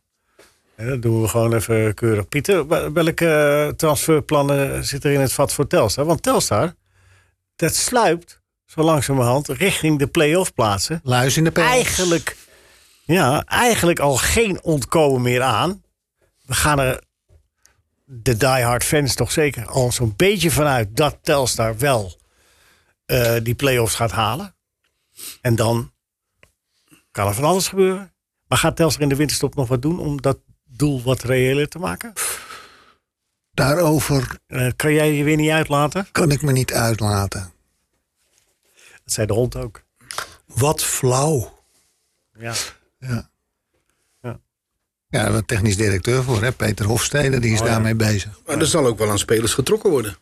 C: En dat doen we gewoon even keurig. Pieter, wa- welke eh, transferplannen zitten er in het vat voor Telstar? Want Telstar, dat sluipt zo langzamerhand richting de play-off plaatsen.
E: Luis in de pels.
C: Eigenlijk, ja, eigenlijk al geen ontkomen meer aan. We gaan er, de diehard fans toch zeker, al zo'n beetje vanuit dat Telstar wel eh, die play-offs gaat halen. En dan kan er van alles gebeuren. Maar gaat Telstar in de winterstop nog wat doen om dat doel wat reëler te maken?
E: Daarover
C: Eh, kan jij je weer niet uitlaten?
E: kan ik me niet uitlaten.
C: Dat zei de hond ook.
D: Wat flauw.
C: Ja.
E: Ja.
C: Ja.
E: Ja, daar hebben we een technisch directeur voor, hè? Peter Hofstede, die is
C: Oh, ja.
E: daarmee bezig.
F: Maar er zal ook wel aan spelers getrokken worden.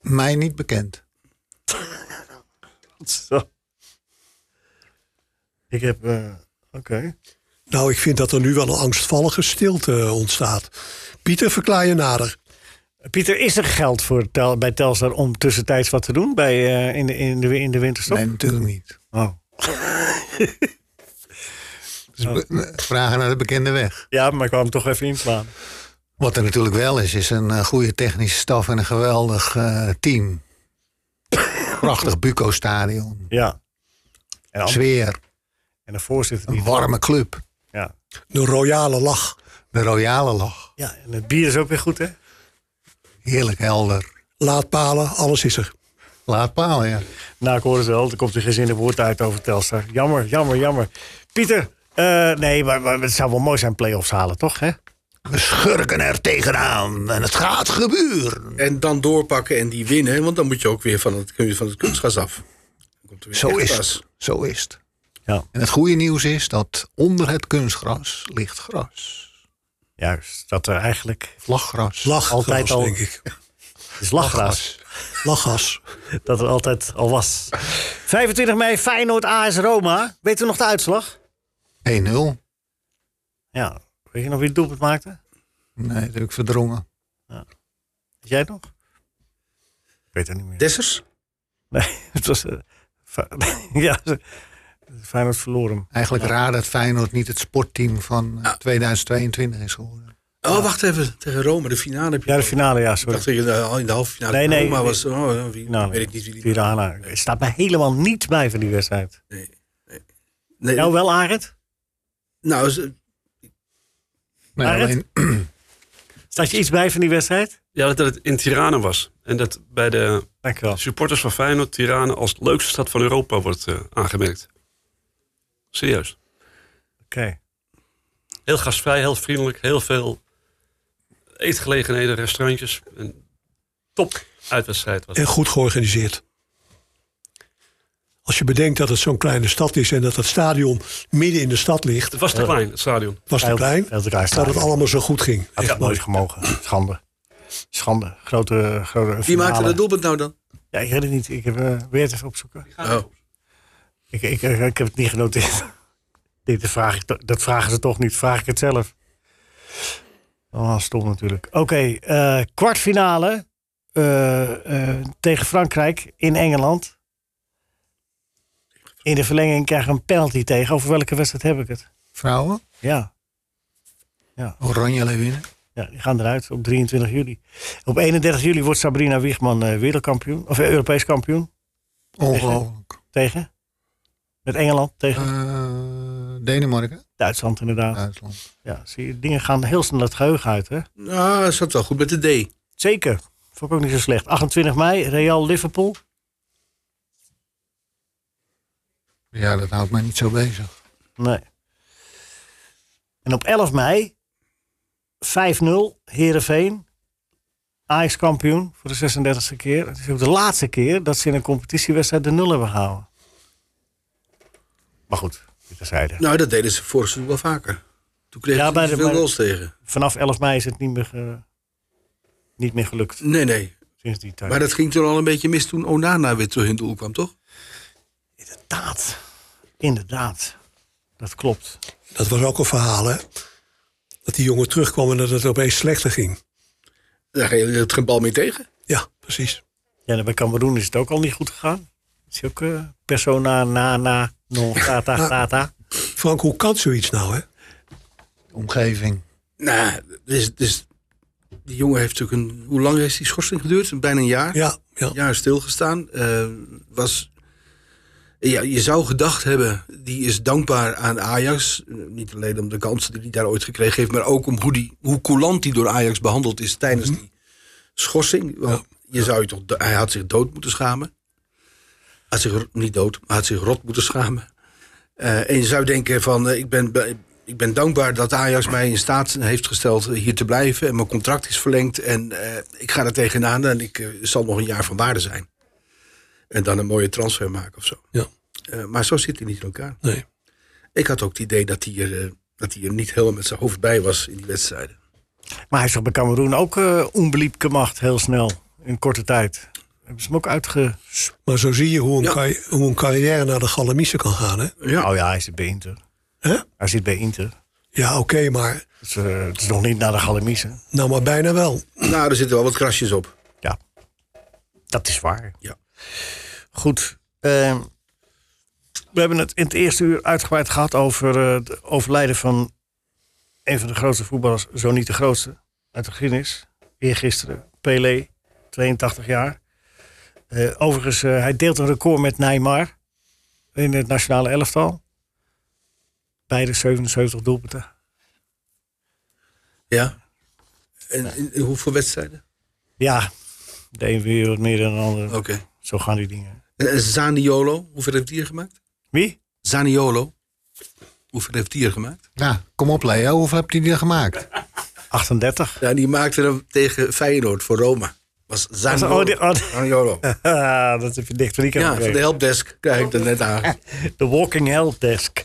E: Mij niet bekend.
C: Zo. Ik heb, eh, oké.
D: Nou, ik vind dat er nu wel een angstvallige stilte eh, ontstaat. Pieter, verklaar je nader.
C: Pieter, is er geld voor tel, bij Telstar om tussentijds wat te doen bij, eh, in, de, in, de, in de winterstop?
E: Nee, natuurlijk niet.
C: Oh.
E: Dus be- Vragen naar de bekende weg.
C: Ja, maar ik kwam toch even inslaan.
E: Wat er natuurlijk wel is, is een eh, goede technische staf en een geweldig eh, team. Prachtig Buco-stadion.
C: Ja. En, dan-
E: Sfeer,
C: en de voorzitter die...
E: een warme club.
C: Ja.
D: De royale lach.
E: De royale lach.
C: ja, en het bier is ook weer goed, hè?
E: Heerlijk helder.
D: Laadpalen, alles is er.
E: Laat paal, ja.
C: Nou, ik hoor het wel. Er komt een gezinnig woord uit over Telstar. Jammer, jammer, jammer. Pieter, eh, nee, maar, maar het zou wel mooi zijn play-offs halen, toch? Hè?
E: We schurken er tegenaan en het gaat gebeuren.
F: En dan doorpakken en die winnen, want dan moet je ook weer van het, kun je van het kunstgas af. Dan komt er weer
E: Zo
F: echt
E: is
F: gas.
E: het. Zo is het.
C: Ja.
E: En het goede nieuws is dat onder het kunstgras ligt gras.
C: Juist, dat er eigenlijk...
E: Lachgras.
D: Lach,
C: Altijd al.
D: denk ik.
C: Het is lachgras.
D: Lachgas.
C: dat er altijd al was. 25 mei, Feyenoord AS Roma. Weet u nog de uitslag?
E: 1-0.
C: Ja. Weet je nog wie het doelpunt maakte? Had
E: Nee, dat heb ik verdrongen.
C: jij het nog? Ik weet het niet meer.
F: Dessers?
C: Nee, het was... eh, Fe- ja, ze- Feyenoord verloor hem.
E: Eigenlijk raar dat Feyenoord niet het sportteam van eh, 2022 is geworden.
F: Oh, wacht even. Tegen Rome, de finale heb je.
C: Ja, de finale, ja,
F: Ik dacht
C: sorry.
F: dat je eh, al in de halve finale.
C: Nee, nee,
F: Roma
C: nee. Nou,
F: was. Oh, wie,
C: Finale.
F: weet ik niet wie die
C: Tirana. Het staat mij helemaal niets bij van die wedstrijd.
F: Nee, Nee,
C: Nou wel, Arend?
F: nou, is-
E: Nee,
C: Maar het-
E: alleen,
C: Staat je iets bij van die wedstrijd?
G: Ja, dat, dat het in Tirana was. En dat bij de
C: Dankjewel.
G: supporters van Feyenoord Tirana als leukste stad van Europa wordt eh, aangemerkt. Serieus.
C: Oké.
G: Heel gastvrij, heel vriendelijk, heel veel eetgelegenheden, restaurantjes. Een top uitwedstrijd was.
D: En
G: het.
D: goed georganiseerd. Als je bedenkt dat het zo'n kleine stad is en dat het stadion midden in de stad ligt,
G: Het was te klein, het stadion.
D: was het klein,
C: Veel te klein
D: dat het
C: stadion.
D: allemaal zo goed ging.
C: Had het nooit gemogen. Schande. Schande. Grote, grote
F: wie maakte
C: finale.
F: dat doelpunt nou dan?
C: Ja, ik weet het niet. Ik heb eh, weer het even opzoeken.
F: Oh.
C: Ik, ik, ik, ik heb het niet genoteerd. Dit dat vraag ik, to- dat vragen ze toch niet. Vraag ik het zelf. Oh, stom natuurlijk. Oké, eh, kwartfinale eh, eh, tegen Frankrijk in Engeland. In de verlenging krijgen we een penalty tegen. Over welke wedstrijd heb ik het?
E: vrouwen,
C: Ja.
E: oranje winnen.
C: Ja, die gaan eruit op 23 juli. Op 31 juli wordt Sabrina Wiegman eh, wereldkampioen, of eh, Europees kampioen
E: Ongelooflijk.
C: tegen. Met Engeland tegen
E: Eh, Denemarken,
C: Duitsland, inderdaad. Ja.
E: Duitsland.
C: zie je, dingen gaan heel snel het geheugen uit, hè?
F: Nou, hij zat wel goed met de D.
C: Zeker. Vond ik ook niet zo slecht. 28 mei, Real Liverpool.
E: Ja, dat houdt mij niet zo bezig.
C: Nee. En op 11 mei, 5-0, Herenveen. Ajax kampioen voor de 36e keer. Het is ook de laatste keer dat ze in een competitiewedstrijd de nul hebben gehouden. Maar goed, dit terzijde.
F: Nou, dat deden ze vorig seizoen wel vaker. Toen kregen
C: Ja,
F: ze
C: bij
F: niet
C: de-
F: veel
C: bij-
F: goals tegen.
C: Vanaf 11 mei is het niet meer, ge- niet meer gelukt
F: Nee, nee.
C: sinds die tijd.
F: Maar dat ging toen al een beetje mis toen Onana weer terug in het doel kwam, toch?
C: Inderdaad. Inderdaad. Dat klopt.
D: Dat was ook een verhaal, hè? Dat die jongen terugkwam en dat het opeens slechter ging.
F: Daar ga je het geen bal meer tegen.
D: Ja, precies.
C: Ja, en bij Cameroen is het ook al niet goed gegaan. Is hij ook eh, persona na na non grata grata.
D: Frank, hoe kan zoiets nou, hè?
E: Omgeving.
F: Nou, dus, dus, die jongen heeft natuurlijk een... Hoe lang heeft die schorsing geduurd? Bijna een jaar?
D: Ja, ja.
F: Een jaar stilgestaan. eh, was, ja, je zou gedacht hebben, die is dankbaar aan Ajax. Eh, Niet alleen om de kansen die hij daar ooit gekregen heeft... maar ook om hoe, die, hoe coulant die door Ajax behandeld is tijdens die schorsing. Want je zou je toch, do- hij had zich dood moeten schamen. Had zich ro- niet dood, maar had zich rot moeten schamen. Eh, en je zou denken van, eh, ik, ben, bij- ik ben dankbaar dat Ajax mij in staat heeft gesteld hier te blijven. En mijn contract is verlengd en eh, ik ga er tegenaan en ik eh, zal nog een jaar van waarde zijn. En dan een mooie transfer maken of zo.
D: Ja.
F: Eh, maar zo zit hij niet in elkaar.
D: Nee.
F: Ik had ook het idee dat hij er, eh, dat hij er niet helemaal met zijn hoofd bij was in die wedstrijden.
C: Maar hij is toch bij Cameroen ook eh onbeliebke macht heel snel. In korte tijd. Hebben ze hem ook uitge...
D: Maar zo zie je hoe een,
F: Ja.
D: carri- hoe een carrière naar de galamiezen kan gaan, hè?
F: Ja.
C: Oh ja, hij zit bij Inter.
D: Hè?
C: Hij zit bij Inter.
D: Ja, oké, maar,
C: Dus, eh, het is nog niet naar de Galamiezen.
D: nou maar bijna wel.
F: Nou, er zitten wel wat krasjes op.
C: Ja, dat is waar.
F: Ja.
C: Goed. ehm, we hebben het in het eerste uur uitgebreid gehad over eh, het overlijden van een van de grootste voetballers, zo niet de grootste, uit de geschiedenis. Eergisteren, Pelé, 82 jaar. Eh, overigens, eh, hij deelt een record met Neymar in het nationale elftal. Beide 77 doelpunten.
F: Ja. En, en- en hoeveel wedstrijden?
C: Ja, de een weer wat meer dan de ander.
F: Oké.
C: Zo gaan die dingen.
F: En, en Eh, Zaniolo, hoeveel heeft hij er gemaakt?
C: Wie?
F: Zaniolo, hoeveel heeft hij er gemaakt?
E: Nou, kom op Leo, hoeveel heb je die er gemaakt?
C: 38.
F: Ja, die maakte hem tegen Feyenoord voor Roma. Was Zaniolo.
C: oh, die- oh, die-
F: Zaniolo.
C: Ah, dat heb je dicht van die kant
F: Ja, van de
C: gekregen.
F: helpdesk krijg ik dat net aan.
C: De Walking Help Desk.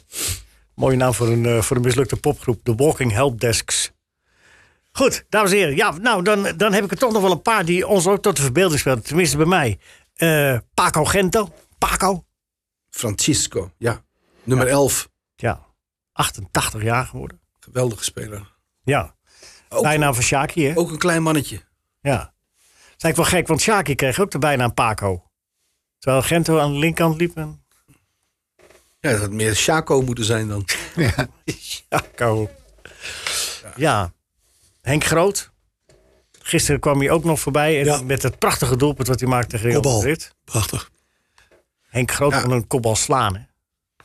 C: Mooie naam voor een, eh, voor een mislukte popgroep. De Walking Help Desks. Goed, dames en heren. Ja, nou, dan, dan heb ik er toch nog wel een paar die ons ook tot de verbeelding spelen. Tenminste bij mij. Eh, Paco Gento. Paco.
F: Francisco, ja. Nummer 11.
C: Ja, 88 jaar geworden.
F: Geweldige speler.
C: Ja,
F: Ook,
C: bijnaam van Shaki, hè?
F: ook een klein mannetje.
C: Ja. Dat is eigenlijk wel gek, want Shaki kreeg ook de bijnaam Paco. Terwijl Gento aan de linkerkant liep en
F: Ja, dat had meer Chaco moeten zijn dan.
C: Ja, kou. Ja. Henk Groot. Gisteren kwam hij ook nog voorbij en
D: Ja.
C: met het prachtige doelpunt wat hij maakte tegen Real
D: Kopbal.
C: Madrid.
D: Prachtig.
C: Henk Groot
F: Ja.
C: kon een kopbal slaan. Hè?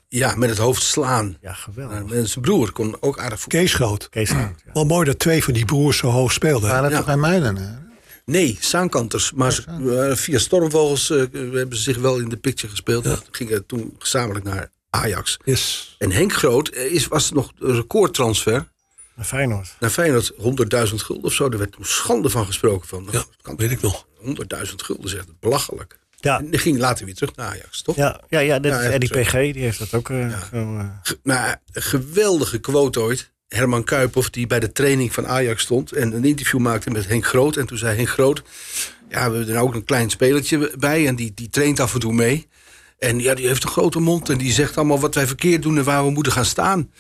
F: Ja, met het hoofd slaan. Eh,
C: Ja, geweldig.
F: En zijn broer kon ook aardig voetballen.
D: Kees Groot.
C: Kees Groot, ja.
D: Wel mooi dat twee van die broers zo hoog speelden.
E: Waren dat
F: Ja.
E: toch bij Muilenaar?
F: Nee, zaankanters. Maar ze, eh, via Stormvogels eh, hebben ze zich wel in de picture gespeeld. Gingen toen gezamenlijk naar Ajax.
D: Yes.
F: En Henk Groot eh, is, was nog een recordtransfer
C: Naar Feyenoord.
F: naar Feyenoord. 100.000 gulden of zo. Daar werd toen schande van gesproken. Van,
D: Ja,
F: kan-
D: weet ik nog.
F: 100.000 gulden, zegt het. Belachelijk.
C: Ja.
F: En die ging later weer terug naar Ajax, toch?
C: Ja, ja, ja, dat
F: Ja,
C: is
F: ja,
C: Eddie
F: zo.
C: PG, die heeft dat ook. eh, zo, eh,
F: Ge- Maar een geweldige quote ooit. Herman Kuiphoff, die bij de training van Ajax stond... en een interview maakte met Henk Groot. En toen zei Henk Groot... ja, we hebben er ook een klein spelertje bij... en die, die traint af en toe mee. En ja, die heeft een grote mond... en die zegt allemaal wat wij verkeerd doen... en waar we moeten gaan staan.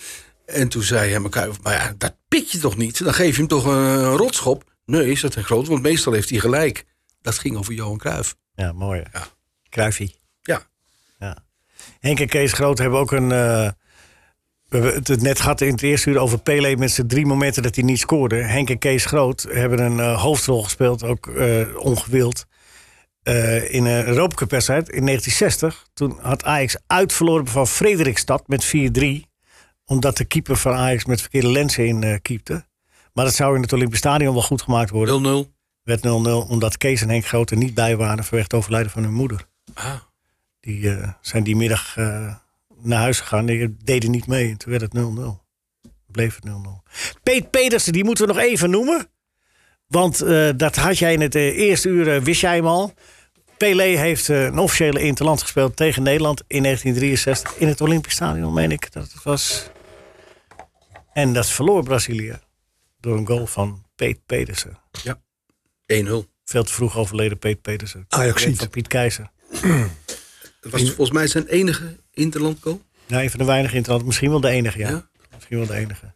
F: En toen zei Herman Kuiphoff... maar ja, dat pik je toch niet? Dan geef je hem toch een rotschop? Nee, zegt Henk Groot, want meestal heeft hij gelijk. Dat ging over Johan Cruijff.
C: ja, mooi. hè.
F: Ja.
C: Kruifie.
F: Ja,
C: Ja. Henk en Kees Groot hebben ook een. eh, we hebben het- het net gehad in het eerste uur over Pele met zijn drie momenten dat hij niet scoorde. Henk en Kees Groot hebben een eh, hoofdrol gespeeld, ook eh, ongewild. eh, in een Europa Cup wedstrijd in 1960. Toen had Ajax uitverloren van Frederikstad met 4-3. Omdat de keeper van Ajax met verkeerde lenzen in eh keepte. Maar dat zou in het Olympisch Stadion wel goed gemaakt worden.
F: 0-0.
C: Werd 0-0 omdat Kees en Henk Groot er niet bij waren vanwege het overlijden van hun moeder.
F: Ah,
C: Die eh, zijn die middag eh, naar huis gegaan. Die deden niet mee. En toen werd het 0-0. Bleef het 0-0. Peet Pedersen, die moeten we nog even noemen. Want eh, dat had jij in het eh, eerste uur, eh, wist jij hem al. Pelé heeft eh, een officiële interland gespeeld tegen Nederland in 1963. In het Olympisch Stadion, meen ik dat het was. En dat verloor Brazilië. Door een goal van Peet Pedersen.
F: 1-0.
C: Veel te vroeg overleden Peet Pedersen.
D: Ajaxiet.
C: Van Piet Keizer.
F: Dat was volgens mij zijn enige interlandgoal.
C: Ja, een van de weinige interland. Misschien wel de enige, ja.
F: Ja?
C: Misschien wel de enige.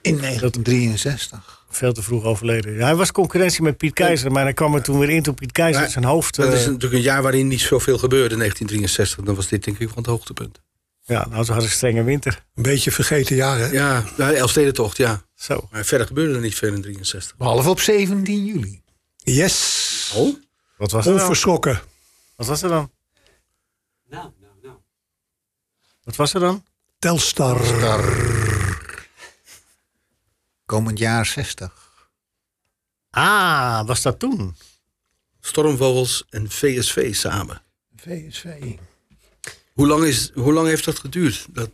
E: In 1963.
C: Veel te vroeg overleden. Ja, hij was concurrentie met Piet Keizer, maar hij kwam er toen weer in toen Piet Keizer
F: Maar
C: zijn hoofd...
F: Dat
C: eh,
F: is natuurlijk een jaar waarin niet zoveel gebeurde, 1963. Dan was dit denk ik van het hoogtepunt.
C: Ja, nou, ze had een strenge winter.
D: Een beetje vergeten jaar, hè?
F: Ja, nou, de Elfstedentocht, ja.
C: Zo.
F: Maar verder gebeurde er niet veel in 63.
E: Behalve op 17 juli.
D: Yes.
F: Oh?
C: Wat was er dan?
D: Onverschrokken.
C: Wat was er dan?
G: Nou, nou, nou.
C: Wat was er dan?
D: Telstar.
E: Komend jaar 60.
C: Ah, was dat toen?
F: Stormvogels en VSV samen.
E: VSV.
F: Hoe lang, is, hoe lang heeft dat geduurd? Dat,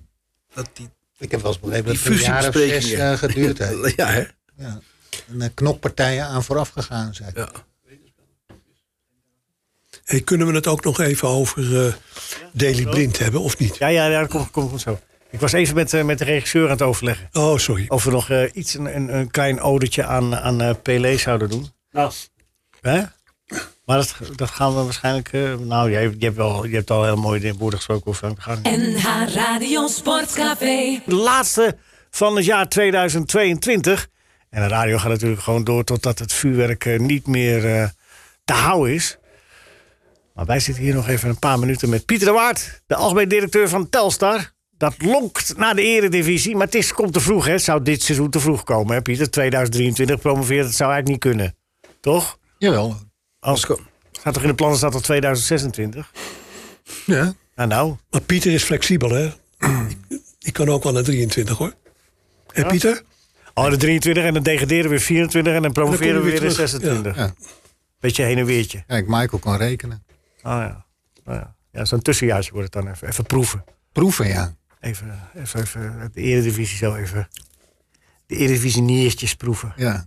F: dat die,
E: Ik heb wel eens begrepen
F: die
E: dat het een jaar of zes
F: fusiebesprekingen.
E: eh, geduurd heeft.
F: ja, hè?
E: Ja. En er knokpartijen aan vooraf gegaan zijn.
F: Ja.
D: Hey, kunnen we het ook nog even over eh Daily Blind hebben, of niet?
C: Ja, ja, ja, dat komt komt goed zo. Ik was even met, eh, met de regisseur aan het overleggen.
D: Oh, sorry.
C: Of we nog eh, iets, een, een, een klein odetje aan, aan eh, Pelé zouden doen.
G: Nou,
C: Hè? Maar dat, dat gaan we waarschijnlijk... eh, nou, je, je, hebt wel, je hebt al heel mooi de woorden gesproken over Frank de Gaal.
A: NH Radio Sportcafé.
C: de laatste van het jaar 2022. En de radio gaat natuurlijk gewoon door totdat het vuurwerk eh, niet meer eh, te houden is. Maar wij zitten hier nog even een paar minuten met Pieter de Waard, de algemeen directeur van Telstar. Dat lonkt naar de eredivisie, maar het is, komt te vroeg. Hè? Het zou dit seizoen te vroeg komen, hè, Pieter? 2023 promoveert, dat zou eigenlijk niet kunnen. Toch?
E: Jawel.
C: Als, staat toch in de plannen staat tot 2026?
E: Ja.
C: Nou, nou.
D: Maar Pieter is flexibel, hè? Ik- Ik kan ook wel naar 23, hoor. Hé, Pieter?
C: Oh, de 23 en dan degraderen we weer 24 en dan promoveren we
D: weer
C: weer in
D: terug.
C: 26.
E: Ja. Ja.
C: Beetje heen en weertje.
E: Kijk, Michael kan rekenen.
C: Oh ja. Oh ja. ja Zo'n tussenjaartje wordt het dan even. Even proeven.
E: Proeven, ja.
C: Even, even, even de Eredivisie zo even. De Eredivisie niertjes proeven.
E: ja.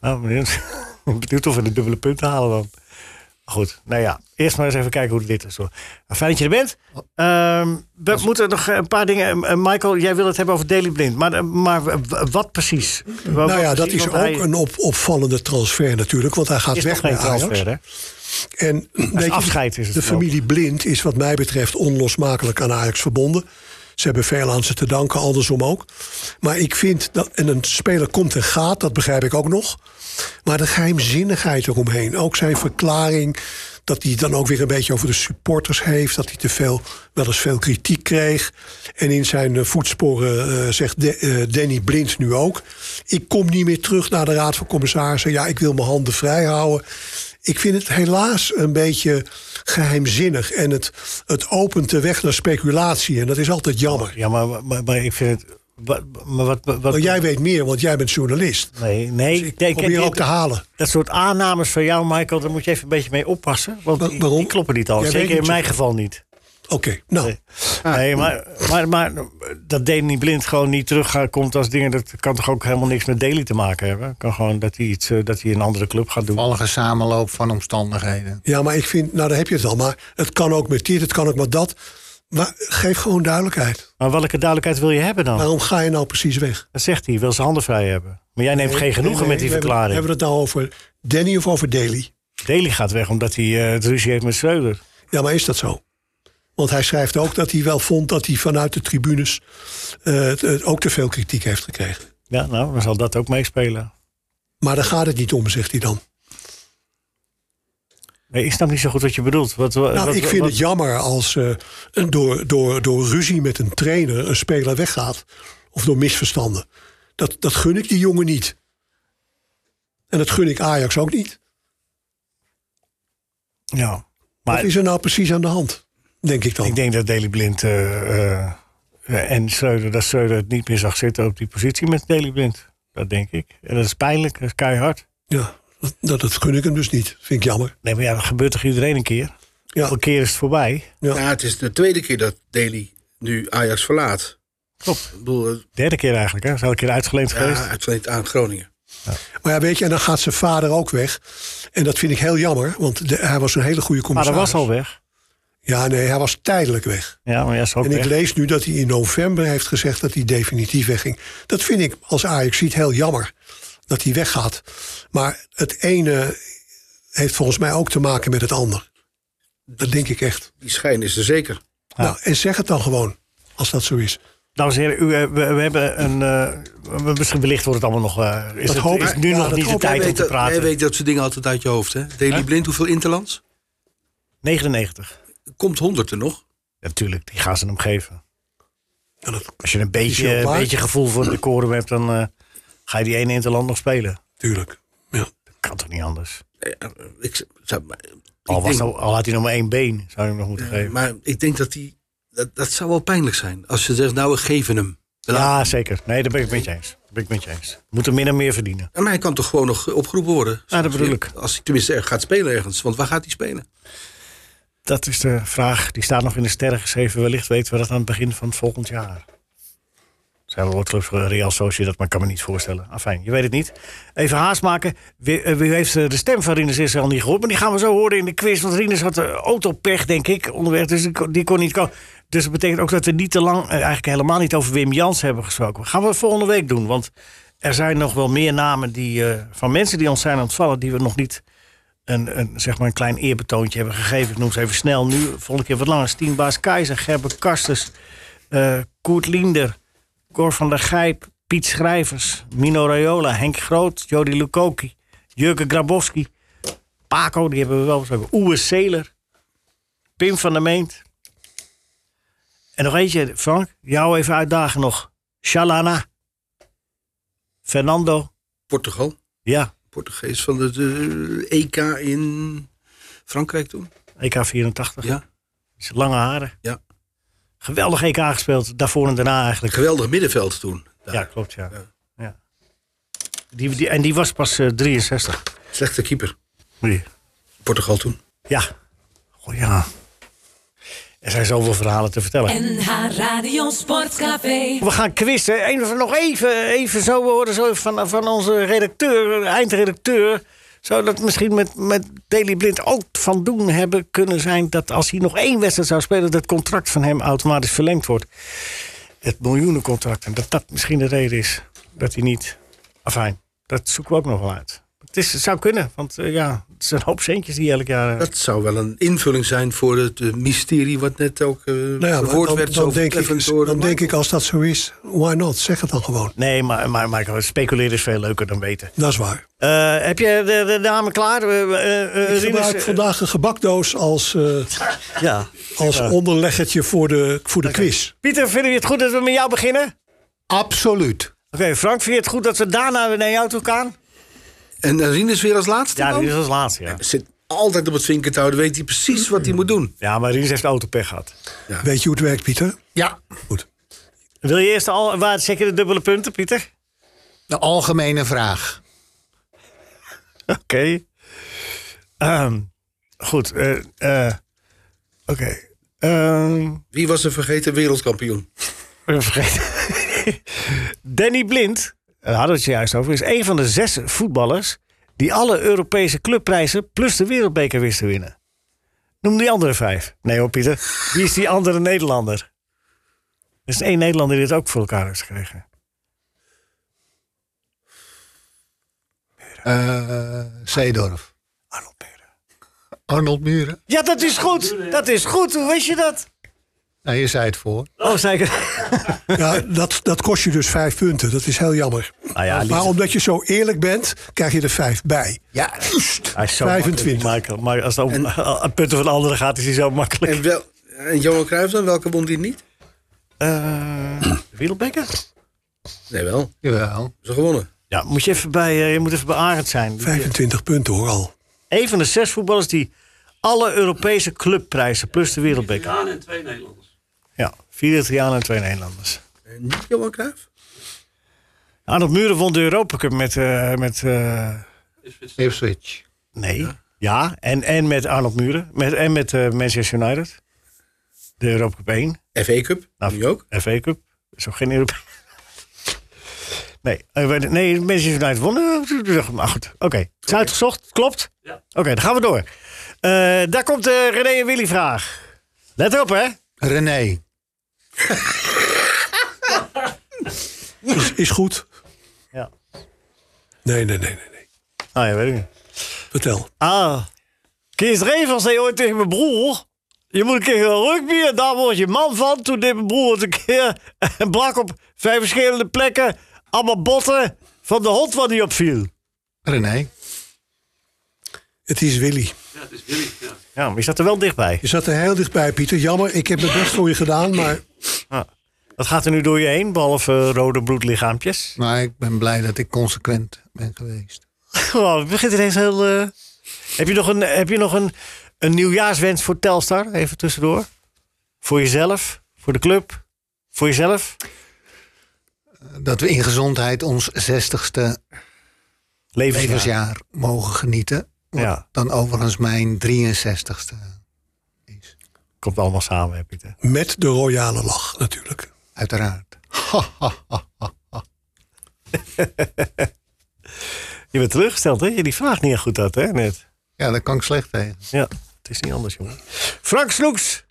C: Nou, benieuwd. Ik ben benieuwd of we de dubbele punten halen dan. Maar Goed, nou ja. Eerst maar eens even kijken hoe dit is. Hoor. Nou, Fijn dat je er bent. Ehm, we moeten nog een paar dingen... eh, eh, Michael, jij wil het hebben over Daily Blind. Maar, eh, maar w- wat precies?
D: Nou ja, dat is ook een op opvallende transfer natuurlijk, want hij gaat
C: is nog
D: weg
C: geen
D: bij Ajax.
C: transfer, hè?
D: En weet je,
C: afscheid is het
D: de
C: voorlopig.
D: familie Blind is wat mij betreft onlosmakelijk aan Ajax verbonden. Ze hebben veel aan ze te danken, andersom ook. Maar ik vind, dat, en een speler komt en gaat, dat begrijp ik ook nog. Maar de geheimzinnigheid eromheen. Ook zijn verklaring dat hij dan ook weer een beetje over de supporters heeft. Dat hij te veel, wel eens veel kritiek kreeg. En in zijn eh, voetsporen eh, zegt De- eh, Danny Blind nu ook. Ik kom niet meer terug naar de Raad van Commissarissen. Ja, ik wil mijn handen vrij houden. ik vind het helaas een beetje geheimzinnig. En het, het opent de weg naar speculatie. En dat is altijd jammer.
C: Ja, maar, maar, maar ik vind het... wa- Maar wat, wat, wat-
D: Maar Oh, jij weet meer, want jij bent journalist.
C: Nee, nee.
D: Dus ik
C: nee,
D: probeer
C: kijk,
D: ook te halen.
C: Dat soort aannames van jou, Michael, daar moet je even een beetje mee oppassen. Want
D: Wa-
C: die-
D: waarom?
C: die kloppen niet al.
D: Jij weet
C: Zeker in
D: niet
C: mijn geval niet.
D: Oké, nou.
C: nee, maar, maar, maar dat Dani Blind gewoon niet terugkomt als dingen... dat kan toch ook helemaal niks met Daily te maken hebben? Kan gewoon dat hij, iets, eh, dat hij een andere club gaat doen.
E: Vallige samenloop van omstandigheden.
D: Ja, maar ik vind, nou daar heb je het al. Maar het kan ook met dit, het kan ook met dat. Maar geef gewoon duidelijkheid.
C: Maar welke duidelijkheid wil je hebben dan?
D: Waarom ga je nou precies weg?
C: Dat zegt hij, hij wil zijn handen vrij hebben. Maar jij neemt geen genoegen
D: Nee, nee,
C: met die
D: we hebben-
C: verklaring.
D: Hebben we het nou over Danny of over Daly?
C: Daly gaat weg omdat hij eh, het ruzie heeft met Schreuder.
D: Ja, maar is dat zo? Want hij schrijft ook dat hij wel vond dat hij vanuit de tribunes eh, t- eh, ook te veel kritiek heeft gekregen.
C: Ja, nou, dan zal dat ook meespelen.
D: Maar daar gaat het niet om, zegt hij dan.
C: Nee, ik snap niet zo goed wat je bedoelt. Wat, wat,
D: Nou,
C: Eh, wat-
D: ik vind
C: wat-
D: het jammer als eh, een door, door, door ruzie met een trainer een speler weggaat. Of door misverstanden. Dat, dat gun ik die jongen niet. En dat gun ik Ajax ook niet.
C: Ja, maar
D: Wat is er nou precies aan de hand? Denk ik dan.
C: ik denk dat Daily Blind eh, eh, en Schreuder, dat Schreuder het niet meer zag zitten op die positie met Daily Blind. Dat denk ik. En dat is pijnlijk, dat is keihard.
D: ja, dat, dat gun ik hem dus niet. Vind ik jammer.
C: Nee, maar ja, dat gebeurt toch iedereen een keer?
D: Ja,
C: Elke keer is het voorbij.
D: Ja.
F: Nou, het is de tweede keer dat Daly nu Ajax verlaat.
C: Klopt.
F: Ik bedoel, eh,
C: Derde keer eigenlijk, hè? Is elke keer uitgeleend geweest.
F: ja, uitgeleend aan Groningen.
D: maar ja, weet je, en dan gaat zijn vader ook weg. En dat vind ik heel jammer, want de- hij was een hele goede
C: Maar dat
D: commissaris.
C: was al weg.
D: Ja, nee, hij was tijdelijk weg.
C: Ja, maar ja, is ook
D: en ik
C: weg.
D: lees nu dat hij in november heeft gezegd dat hij definitief wegging. Dat vind ik als Ajax ziet heel jammer dat hij weggaat. Maar het ene heeft volgens mij ook te maken met het ander. Dat denk ik echt.
F: Die schijn is er zeker.
D: Nou, en zeg het dan gewoon, als dat zo is.
C: Dames en heren, u, eh, we, we hebben een. eh, we- misschien wellicht wordt het allemaal nog. eh, is,
D: Dat
C: het,
D: hoop
C: is
D: ik.
C: nu
D: Ja,
C: nog
D: dat
C: niet de
D: hoop ik.
C: tijd
F: Jij
C: om
F: weet,
C: te
F: dat- jij
C: praten?
F: weet dat soort dingen altijd uit je hoofd, hè? Daily Blind, hoeveel interlands?
C: 99.
F: Komt honderd er nog?
C: Natuurlijk, die gaan ze hem geven.
D: Ja, dat,
C: Als je een
D: wel
C: beetje, een
D: waar.
C: beetje gevoel voor de koren hebt, dan eh, ga je die ene interland nog spelen.
D: tuurlijk. Ja. Nou
C: Kan toch niet anders?
F: Eh, eh, Ik, z- zou, maar, ik
C: Al, was
F: denk-
C: nou- al had hij nog maar één been, zou je hem nog moeten geven.
F: maar ik denk dat die... Dat, dat zou wel pijnlijk zijn. Als ze zegt, nou, we geven hem. We laten-
C: ja, zeker. Nee, daar ben ik met je eens. Daar ben ik met je eens. Moet er min en meer verdienen.
F: Maar hij kan toch gewoon nog opgeroepen worden?
C: Ja, dat bedoel ik.
F: Als hij tenminste er gaat spelen ergens. Want waar gaat hij spelen?
C: Dat is de vraag. Die staat nog in de sterren geschreven. Wellicht weten we dat aan het begin van volgend jaar. Zijn er wel clubs, eh, Real Sociedad, maar ik kan me niet voorstellen. Afijn, je weet het niet. Even haast maken. Wie, eh, wie heeft eh, de stem van Rinus Israël niet gehoord? Maar die gaan we zo horen in de quiz. Want Rinus had eh, autopech, denk ik, onderweg. Dus die kon, die kon niet komen. Dus dat betekent ook dat we niet te lang, eh, eigenlijk helemaal niet over Wim Jans hebben gesproken. Gaan we volgende week doen. Want er zijn nog wel meer namen die, eh, van mensen die ons zijn ontvallen... die we nog niet een, een, zeg maar een klein eerbetoontje hebben gegeven. Ik noem ze even snel nu. Volgende keer wat langer. Stienbaas Keizer, Gerber Kasters, eh Koert Linder, Cor van der Gijp, Piet Schrijvers, Mino Raiola, Henk Groot, Jody Lukoki, Jurgen Grabowski, Paco, die hebben we wel besproken. Oewe Seler, Pim van der Meent. En nog eentje, Frank, jou even uitdagen nog. Shalana, Fernando,
F: Portugal.
C: ja,
F: Portugees van de, de EK in Frankrijk toen.
C: EK84.
F: Ja.
C: Dus Lange haren.
F: Ja.
C: Geweldig EK gespeeld, daarvoor en daarna eigenlijk.
F: Geweldig middenveld toen. Daar.
C: Ja, klopt, ja. ja. Die, die, en die was pas eh, 63.
F: Slechte keeper.
C: Nee.
F: Portugal toen.
C: Ja. Oh ja. Er zijn zoveel verhalen te vertellen.
A: NH Radio Sportcafé.
C: We gaan quizzen. Even, nog even, even zo we horen zo even van, van onze redacteur, eindredacteur. Zou dat misschien met, met Daily Blind ook van doen hebben kunnen zijn... dat als hij nog één wedstrijd zou spelen... dat contract van hem automatisch verlengd wordt. Het miljoenencontract. En dat dat misschien de reden is dat hij niet... Afijn, dat zoeken we ook nog wel uit. Het, is, het zou kunnen, want eh, ja, het zijn een hoop centjes die elk jaar... eh,
F: Dat zou wel een invulling zijn voor het eh, mysterie wat net ook eh
D: Nou ja, maar
F: verwoord
D: dan,
F: werd.
D: dan,
F: zo
D: denk ik,
F: vertreffend door
D: dan denk
F: Michael.
D: ik als dat zo is, why not? Zeg het dan gewoon.
C: Nee, maar, maar, maar speculeren is veel leuker dan weten.
D: Dat is waar.
C: Eh, heb je de, de namen klaar? Eh, eh, eh,
D: Ik
C: Rinus,
D: gebruik
C: eh,
D: vandaag een gebakdoos als, eh,
C: Ja.
D: als onderleggertje voor de, voor de quiz.
C: Pieter, vinden we het goed dat we met jou beginnen? Oké,
E: Absoluut.
C: Frank, vind je het goed dat we daarna weer naar jou toe gaan?
F: En Rien is weer als laatste
C: Ja,
F: dan?
C: die is als laatste, ja.
F: Er zit altijd op het vinkert houden. Weet hij precies wat hij moet doen.
C: Ja, maar Ries heeft autopech gehad.
D: Weet je hoe het werkt, Pieter?
E: Ja,
C: Wil je eerst al, waar zeker de dubbele punten, Pieter?
E: de algemene vraag.
C: Oké. Ehm, goed. eh, eh, Oké. Ehm,
F: Wie was een vergeten wereldkampioen?
C: ik vergeet. Danny Blind, daar hadden we het juist over, is een van de zes voetballers die alle Europese clubprijzen plus de wereldbeker wist te winnen. Noem die andere vijf. Nee hoor, Pieter. Wie is die andere Nederlander? Er is één Nederlander die het ook voor elkaar heeft gekregen.
E: Eh Zeedorf.
C: Arnold Meuren.
E: Arnold Muren.
C: Ja, dat is goed. Dat is goed. Hoe wist je dat?
E: Nou, je zei het voor.
C: Oh, zeker.
D: Ja, dat, dat kost je dus vijf punten. Dat is heel jammer.
C: Nou ja,
D: maar
C: Lies-
D: omdat je zo eerlijk bent, krijg je er vijf bij.
E: Ja,
C: hij is zo makkelijk,
D: 25.
C: Michael. Maar als het om aan punten van de anderen gaat, is hij zo makkelijk.
F: En, wel, en Johan Cruijff dan? Welke won die niet?
C: Eh Wielbekker?
F: Nee, wel.
E: jawel.
F: Ze gewonnen.
C: Ja, moet je even bij, eh, je moet even bij Arend zijn.
D: 25 punten hoor al.
C: Een van de zes voetballers die alle Europese clubprijzen plus de wereldbeker.
G: Daan en twee Nederlanders.
C: Ja, vier Italianen en twee Nederlanders.
F: En niet Johan Cruijff?
C: Arnold Muren won de Europa Cup met, eh, met eh,
E: Ipswich.
C: nee, ja, en, en met Arnold Muren met, en met eh, Manchester United. De Europa Cup 1.
F: FA Cup?
C: Nou,
F: nu ook?
C: FA Cup. Is ook geen Europese. Nee, eh, wij- nee, Manchester United wonnen. Maar goed, oké. Het is uitgezocht, klopt.
G: Ja.
C: Oké, dan gaan we door. Eh, daar komt de René en Willy vraag. Let op, hè.
E: René.
D: Is, Dus is goed?
C: Ja.
D: Nee, nee, nee, nee. nee.
C: Ah ja, weet ik niet.
D: Vertel.
C: Ah. Kees Revers zei ooit tegen mijn broer... Je moet een keer gaan rugbyen, daar word je man van. Toen deed mijn broer het een keer en brak op vijf verschillende plekken... allemaal botten van de hond waar die op viel.
E: René.
D: Het is Willy.
G: Ja, het is Willy. Ja.
C: Ja, maar je zat er wel dichtbij.
D: Je zat er heel dichtbij, Pieter. Jammer, ik heb mijn best voor je gedaan, maar
C: Wat gaat er nu door je heen, behalve eh, rode bloedlichaampjes?
E: Maar ik ben blij dat ik consequent ben geweest.
C: Gewoon, het begint ineens heel... eh, Heb je nog, een, heb je nog een, een nieuwjaarswens voor Telstar? Even tussendoor. Voor jezelf? Voor de club? Voor jezelf?
E: Dat we in gezondheid ons zestigste levensjaar mogen genieten. Wat
C: Ja.
E: dan overigens mijn 63ste,
C: Komt allemaal samen, hè, Pieter.
D: met de royale lach natuurlijk.
E: uiteraard.
C: Je bent teruggesteld, hè? Je die vraag niet echt goed had, hè, net.
E: Ja, daar kan ik slecht tegen.
C: Ja, het is niet anders, jongen. Frank Snoeks.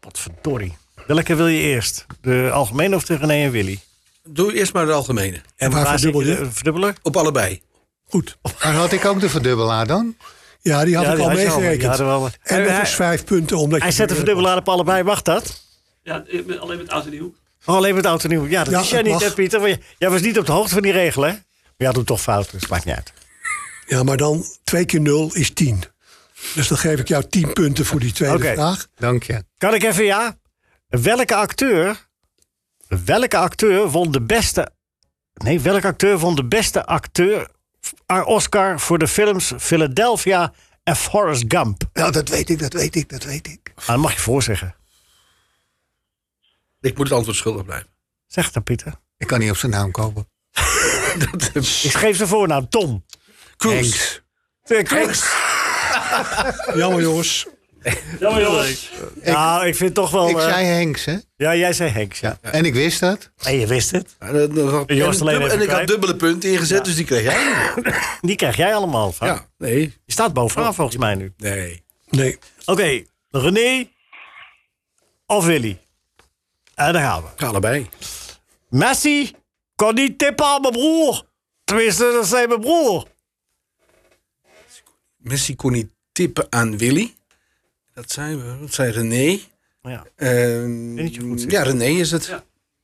C: Wat verdorie. Welke wil je eerst? De algemene of de René en Willy?
F: Doe eerst maar de algemene.
C: En
D: waar
C: zit
D: verdubbel je?
C: de- Verdubbeler?
F: Op allebei.
D: Goed.
E: Maar had ik ook de verdubbelaar dan?
D: Ja, die had
C: Ja, die
D: ik al
C: had je al, die
D: meegerekend.
C: hadden we al.
D: En
C: Hij-
D: nog eens vijf punten, omdat
C: Hij
D: je-
C: zet de verdubbelaar op allebei, mag dat?
G: Ja, eh, met- alleen met oud en nieuw.
C: Oh, alleen met oud en nieuw. Ja, dat
D: Ja,
C: is jij
D: dat
C: niet,
D: mag.
C: hè, Pieter? Want j- Jij was niet op de hoogte van die regel, hè? Maar jij had hem toch fout, dus het maakt niet uit.
D: Ja, maar dan twee keer nul is tien. Dus dan geef ik jou tien punten voor die tweede
C: Oké.
D: vraag.
E: Dank je.
C: Kan ik even, ja? Welke acteur... Welke acteur won de beste... Nee, welke acteur won de beste acteur... aan Oscar voor de films Philadelphia en Forrest Gump?
E: Nou, dat weet ik, dat weet ik, dat weet ik.
C: Ah, dat mag je voorzeggen.
F: Ik moet het antwoord schuldig blijven.
C: Zeg het dan, Pieter.
E: Ik kan niet op zijn naam komen.
C: Ik geef zijn voornaam, Tom.
E: Thanks.
C: Eh, Cruise.
D: Jammer, jongens.
G: Jammer jongens.
C: Nou, ik vind toch wel...
E: Ik
C: eh,
E: zei Henks, hè?
C: Ja, jij zei Henk. Ja.
E: Ja. En ik wist dat.
C: En je wist het.
F: En, eh, dan had-
C: En je was
F: dubbel-
C: alleen even
F: en ik had
C: kwijt.
F: dubbele punten ingezet, dus die kreeg jij.
C: Die krijg jij allemaal van.
F: Ja, nee.
C: Je staat bovenaan volgens mij nu.
F: Nee.
D: Nee,
C: Oké, René of Willy? En daar gaan we.
F: Ik ga allebei.
C: Messi kon niet tippen aan mijn broer. Tenminste, dat zei mijn broer.
F: Messi kon niet tippen aan Willy. Dat zijn we. Dat zijn René.
C: Ja, ik
F: Ehm,
C: denk dat je goed zit.
F: ja, René is het.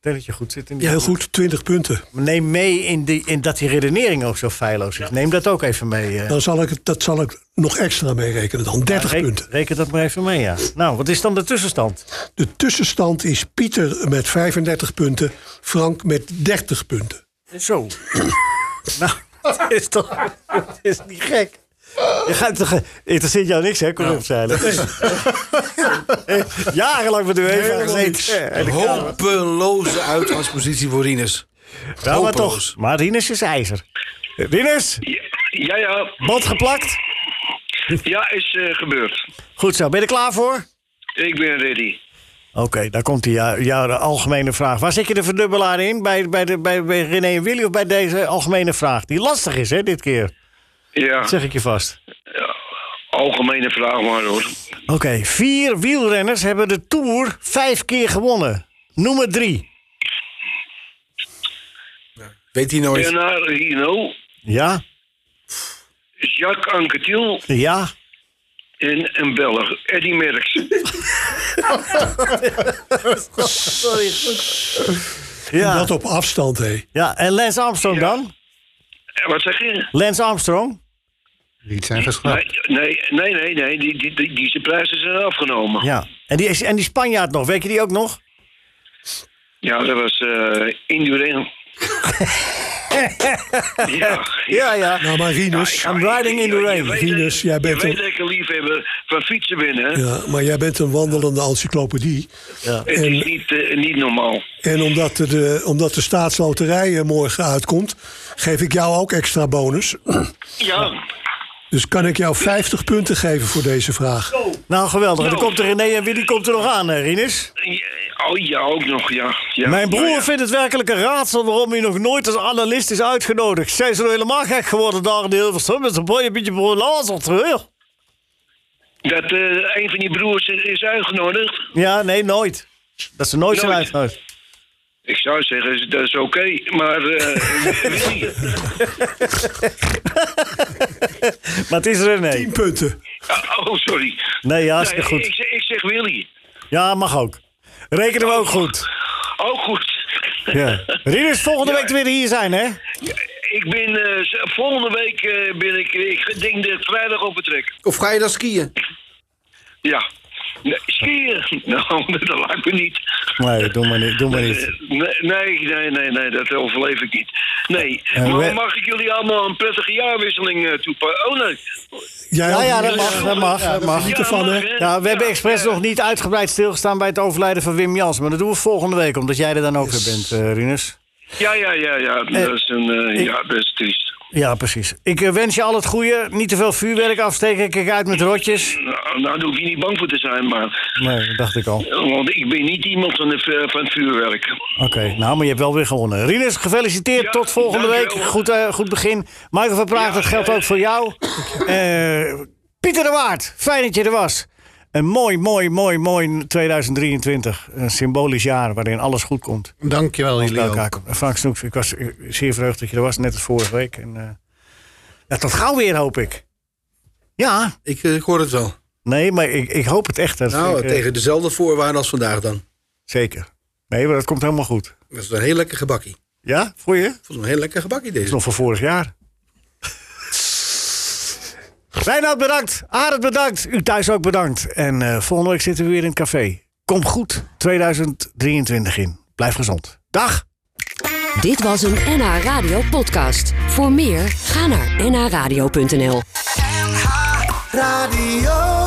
C: denk dat je goed zit in die.
D: heel goed, 20 punten.
C: Neem mee in, die, in dat die redenering ook zo feilloos is. Neem dat ook even mee. eh.
D: Dan zal ik, het- dat zal ik nog extra meerekenen dan. 30
C: Reken-
D: punten.
C: Reken dat maar even mee, ja. Nou, wat is dan de tussenstand?
D: De tussenstand is Pieter met 35 punten, Frank met 30 punten.
C: Zo. nou, dat is toch dat is niet gek. Je gaat toch, interesseert jou niks, hè, corrupt zijn. Jarenlang met de UEFA gezeten. En de Kamer.
F: Hopeloze uitgangspositie voor Rinus.
C: Wel, maar
F: hopeloos.
C: toch. Maar Rinus is ijzer. Rinus,
H: Ja, ja.
C: bot geplakt.
H: Ja, is eh, gebeurd.
C: Goed zo, ben je er klaar voor?
H: Ik ben ready.
C: Oké, daar komt die jou- jouw algemene vraag. Waar zit je de verdubbelaar in? Bij, bij, de, bij, bij René en Willy of bij deze algemene vraag? Die lastig is, hè, dit keer.
H: Ja,
C: Dat zeg ik je vast.
H: algemene vraag maar hoor.
C: Oké, vier wielrenners hebben de Tour vijf keer gewonnen. Noem er drie.
F: Weet hij nooit.
H: Bernard Hino,
C: Ja?
H: Jacques Anquetil
C: Ja?
H: en een Belg, Eddy Merckx. Eh,
C: Ja,
D: Dat op afstand, hé.
C: ja. en Lance Armstrong
H: Ja.
C: dan?
H: Eh, Wat zeg je?
C: Lance Armstrong?
E: Niet zijn geschrapt.
H: Nee, nee, nee, nee, nee. Die, die, die, die zijn prijzen zijn afgenomen. Ja,
C: Ja. En die, en die Spanjaard nog, weet je die ook nog?
H: dat was eh Indurain. ja,
C: Ja, ja.
D: Nou, maar Rinus,
H: Ja,
C: I'm riding in the
H: je- je
C: rain.
H: weet dat-
D: Rinus, jij bent
H: Je weet
D: een-
H: dat ik een liefhebber van fietsen ben, hè?
D: ja, maar jij bent een wandelende encyclopedie.
H: Het is niet, eh, niet normaal.
D: En omdat de, de, omdat de staatsloterij eh, morgen uitkomt, geef ik jou ook extra bonus.
H: Ja,
D: Dus kan ik jou 50 punten geven voor deze vraag?
C: Nou, geweldig. En dan
H: Nou.
C: komt er René en Willy komt er nog aan, hè, Rinus?
H: Ja, Oh ja, ook nog, ja. ja.
C: Mijn broer
H: Nou ja.
C: vindt het werkelijk een raadsel waarom hij nog nooit als analist is uitgenodigd. Zij is er helemaal gek geworden daar in Hilversum met zijn mooie beetje broer Lazar terug.
H: Dat eh, een van die broers is uitgenodigd.
C: Ja, nee, nooit. Dat ze nooit zijn
H: Nooit.
C: uitgenodigd.
H: Ik zou zeggen, dat is oké, maar... eh, Willy,
C: Maar het is René.
D: 10 punten.
H: oh, sorry.
C: Nee, ja, is goed.
H: Ik, zeg- ik zeg Willy.
C: Ja, mag ook. Rekenen we ook goed.
H: Oh, goed.
C: Ja. Rinus, volgende
H: Ja.
C: week weer hier zijn, hè?
H: Ik ben... eh, z- volgende week eh, ben ik... Ik denk dat ik vrijdag op vertrek.
F: Of ga je dan skiën?
H: Ja. Nee, skiën? Nou, dat lijkt me niet.
C: Nee, doe maar niet. Doe maar niet.
H: Eh, nee, nee, nee, nee, nee, dat overleef ik niet. Nee,
C: Eh, we-
H: maar mag ik jullie allemaal een prettige jaarwisseling eh, toepassen? Oh, nee.
D: Jij
C: Ja,
D: ook,
C: ja, dat
D: Rinus?
C: mag. Dat mag. Dat mag.
D: Niet ervan, hè?
C: Ja, we hebben expres nog niet uitgebreid stilgestaan bij het overlijden van Wim Jans. Maar dat doen we volgende week, omdat jij er dan ook weer bent, eh, Rinus.
H: Ja, ja, ja, ja. Dat is een, eh, ja, dat is triest.
C: Ja, precies. Ik eh, wens je al het goede. Niet te veel vuurwerk afsteken. Kijk uit met rotjes.
H: Nou, nou, daar hoef je niet bang voor te zijn, maar...
C: Nee, dat dacht ik al. Oké,
H: Want ik ben niet iemand van, de, vu- van het vuurwerk.
C: nou, maar je hebt wel weer gewonnen. Rinus, gefeliciteerd.
H: Ja,
C: Tot volgende week.
H: dankjewel.
C: Goed, eh, goed begin. Michael van Praag,
H: Ja,
C: dat geldt
H: eh,
C: ook voor jou. Eh, Pieter de Waard, fijn dat je er was. Een mooi, mooi, mooi, mooi 2023. Een symbolisch jaar waarin alles goed komt.
E: Dankjewel
C: Bij
E: jullie
C: elkaar
E: ook.
C: komen. Frank Snoeks, ik was eh, zeer verheugd dat je er was, net als vorige week. En, eh, ja, tot gauw weer, hoop ik. Ja,
F: Ik, eh, ik hoor het wel.
C: Nee, maar ik, ik hoop het echt. Dat
F: Nou,
C: ik, eh,
F: tegen dezelfde voorwaarden als vandaag dan.
C: Zeker. Nee, maar dat komt helemaal goed.
F: Dat is een heel lekker gebakkie. Ik
C: Ja, voor je? Dat
F: vond het een heel lekker gebakkie
C: is
F: deze.
C: nog van vorig jaar. Reinoud bedankt. Arend bedankt. U thuis ook bedankt. En eh, volgende week zitten we weer in het café. Kom goed 2023 in. Blijf gezond. Dag.
A: Dit was een NH Radio podcast. Voor meer, ga naar nhradio.nl.
B: Radio.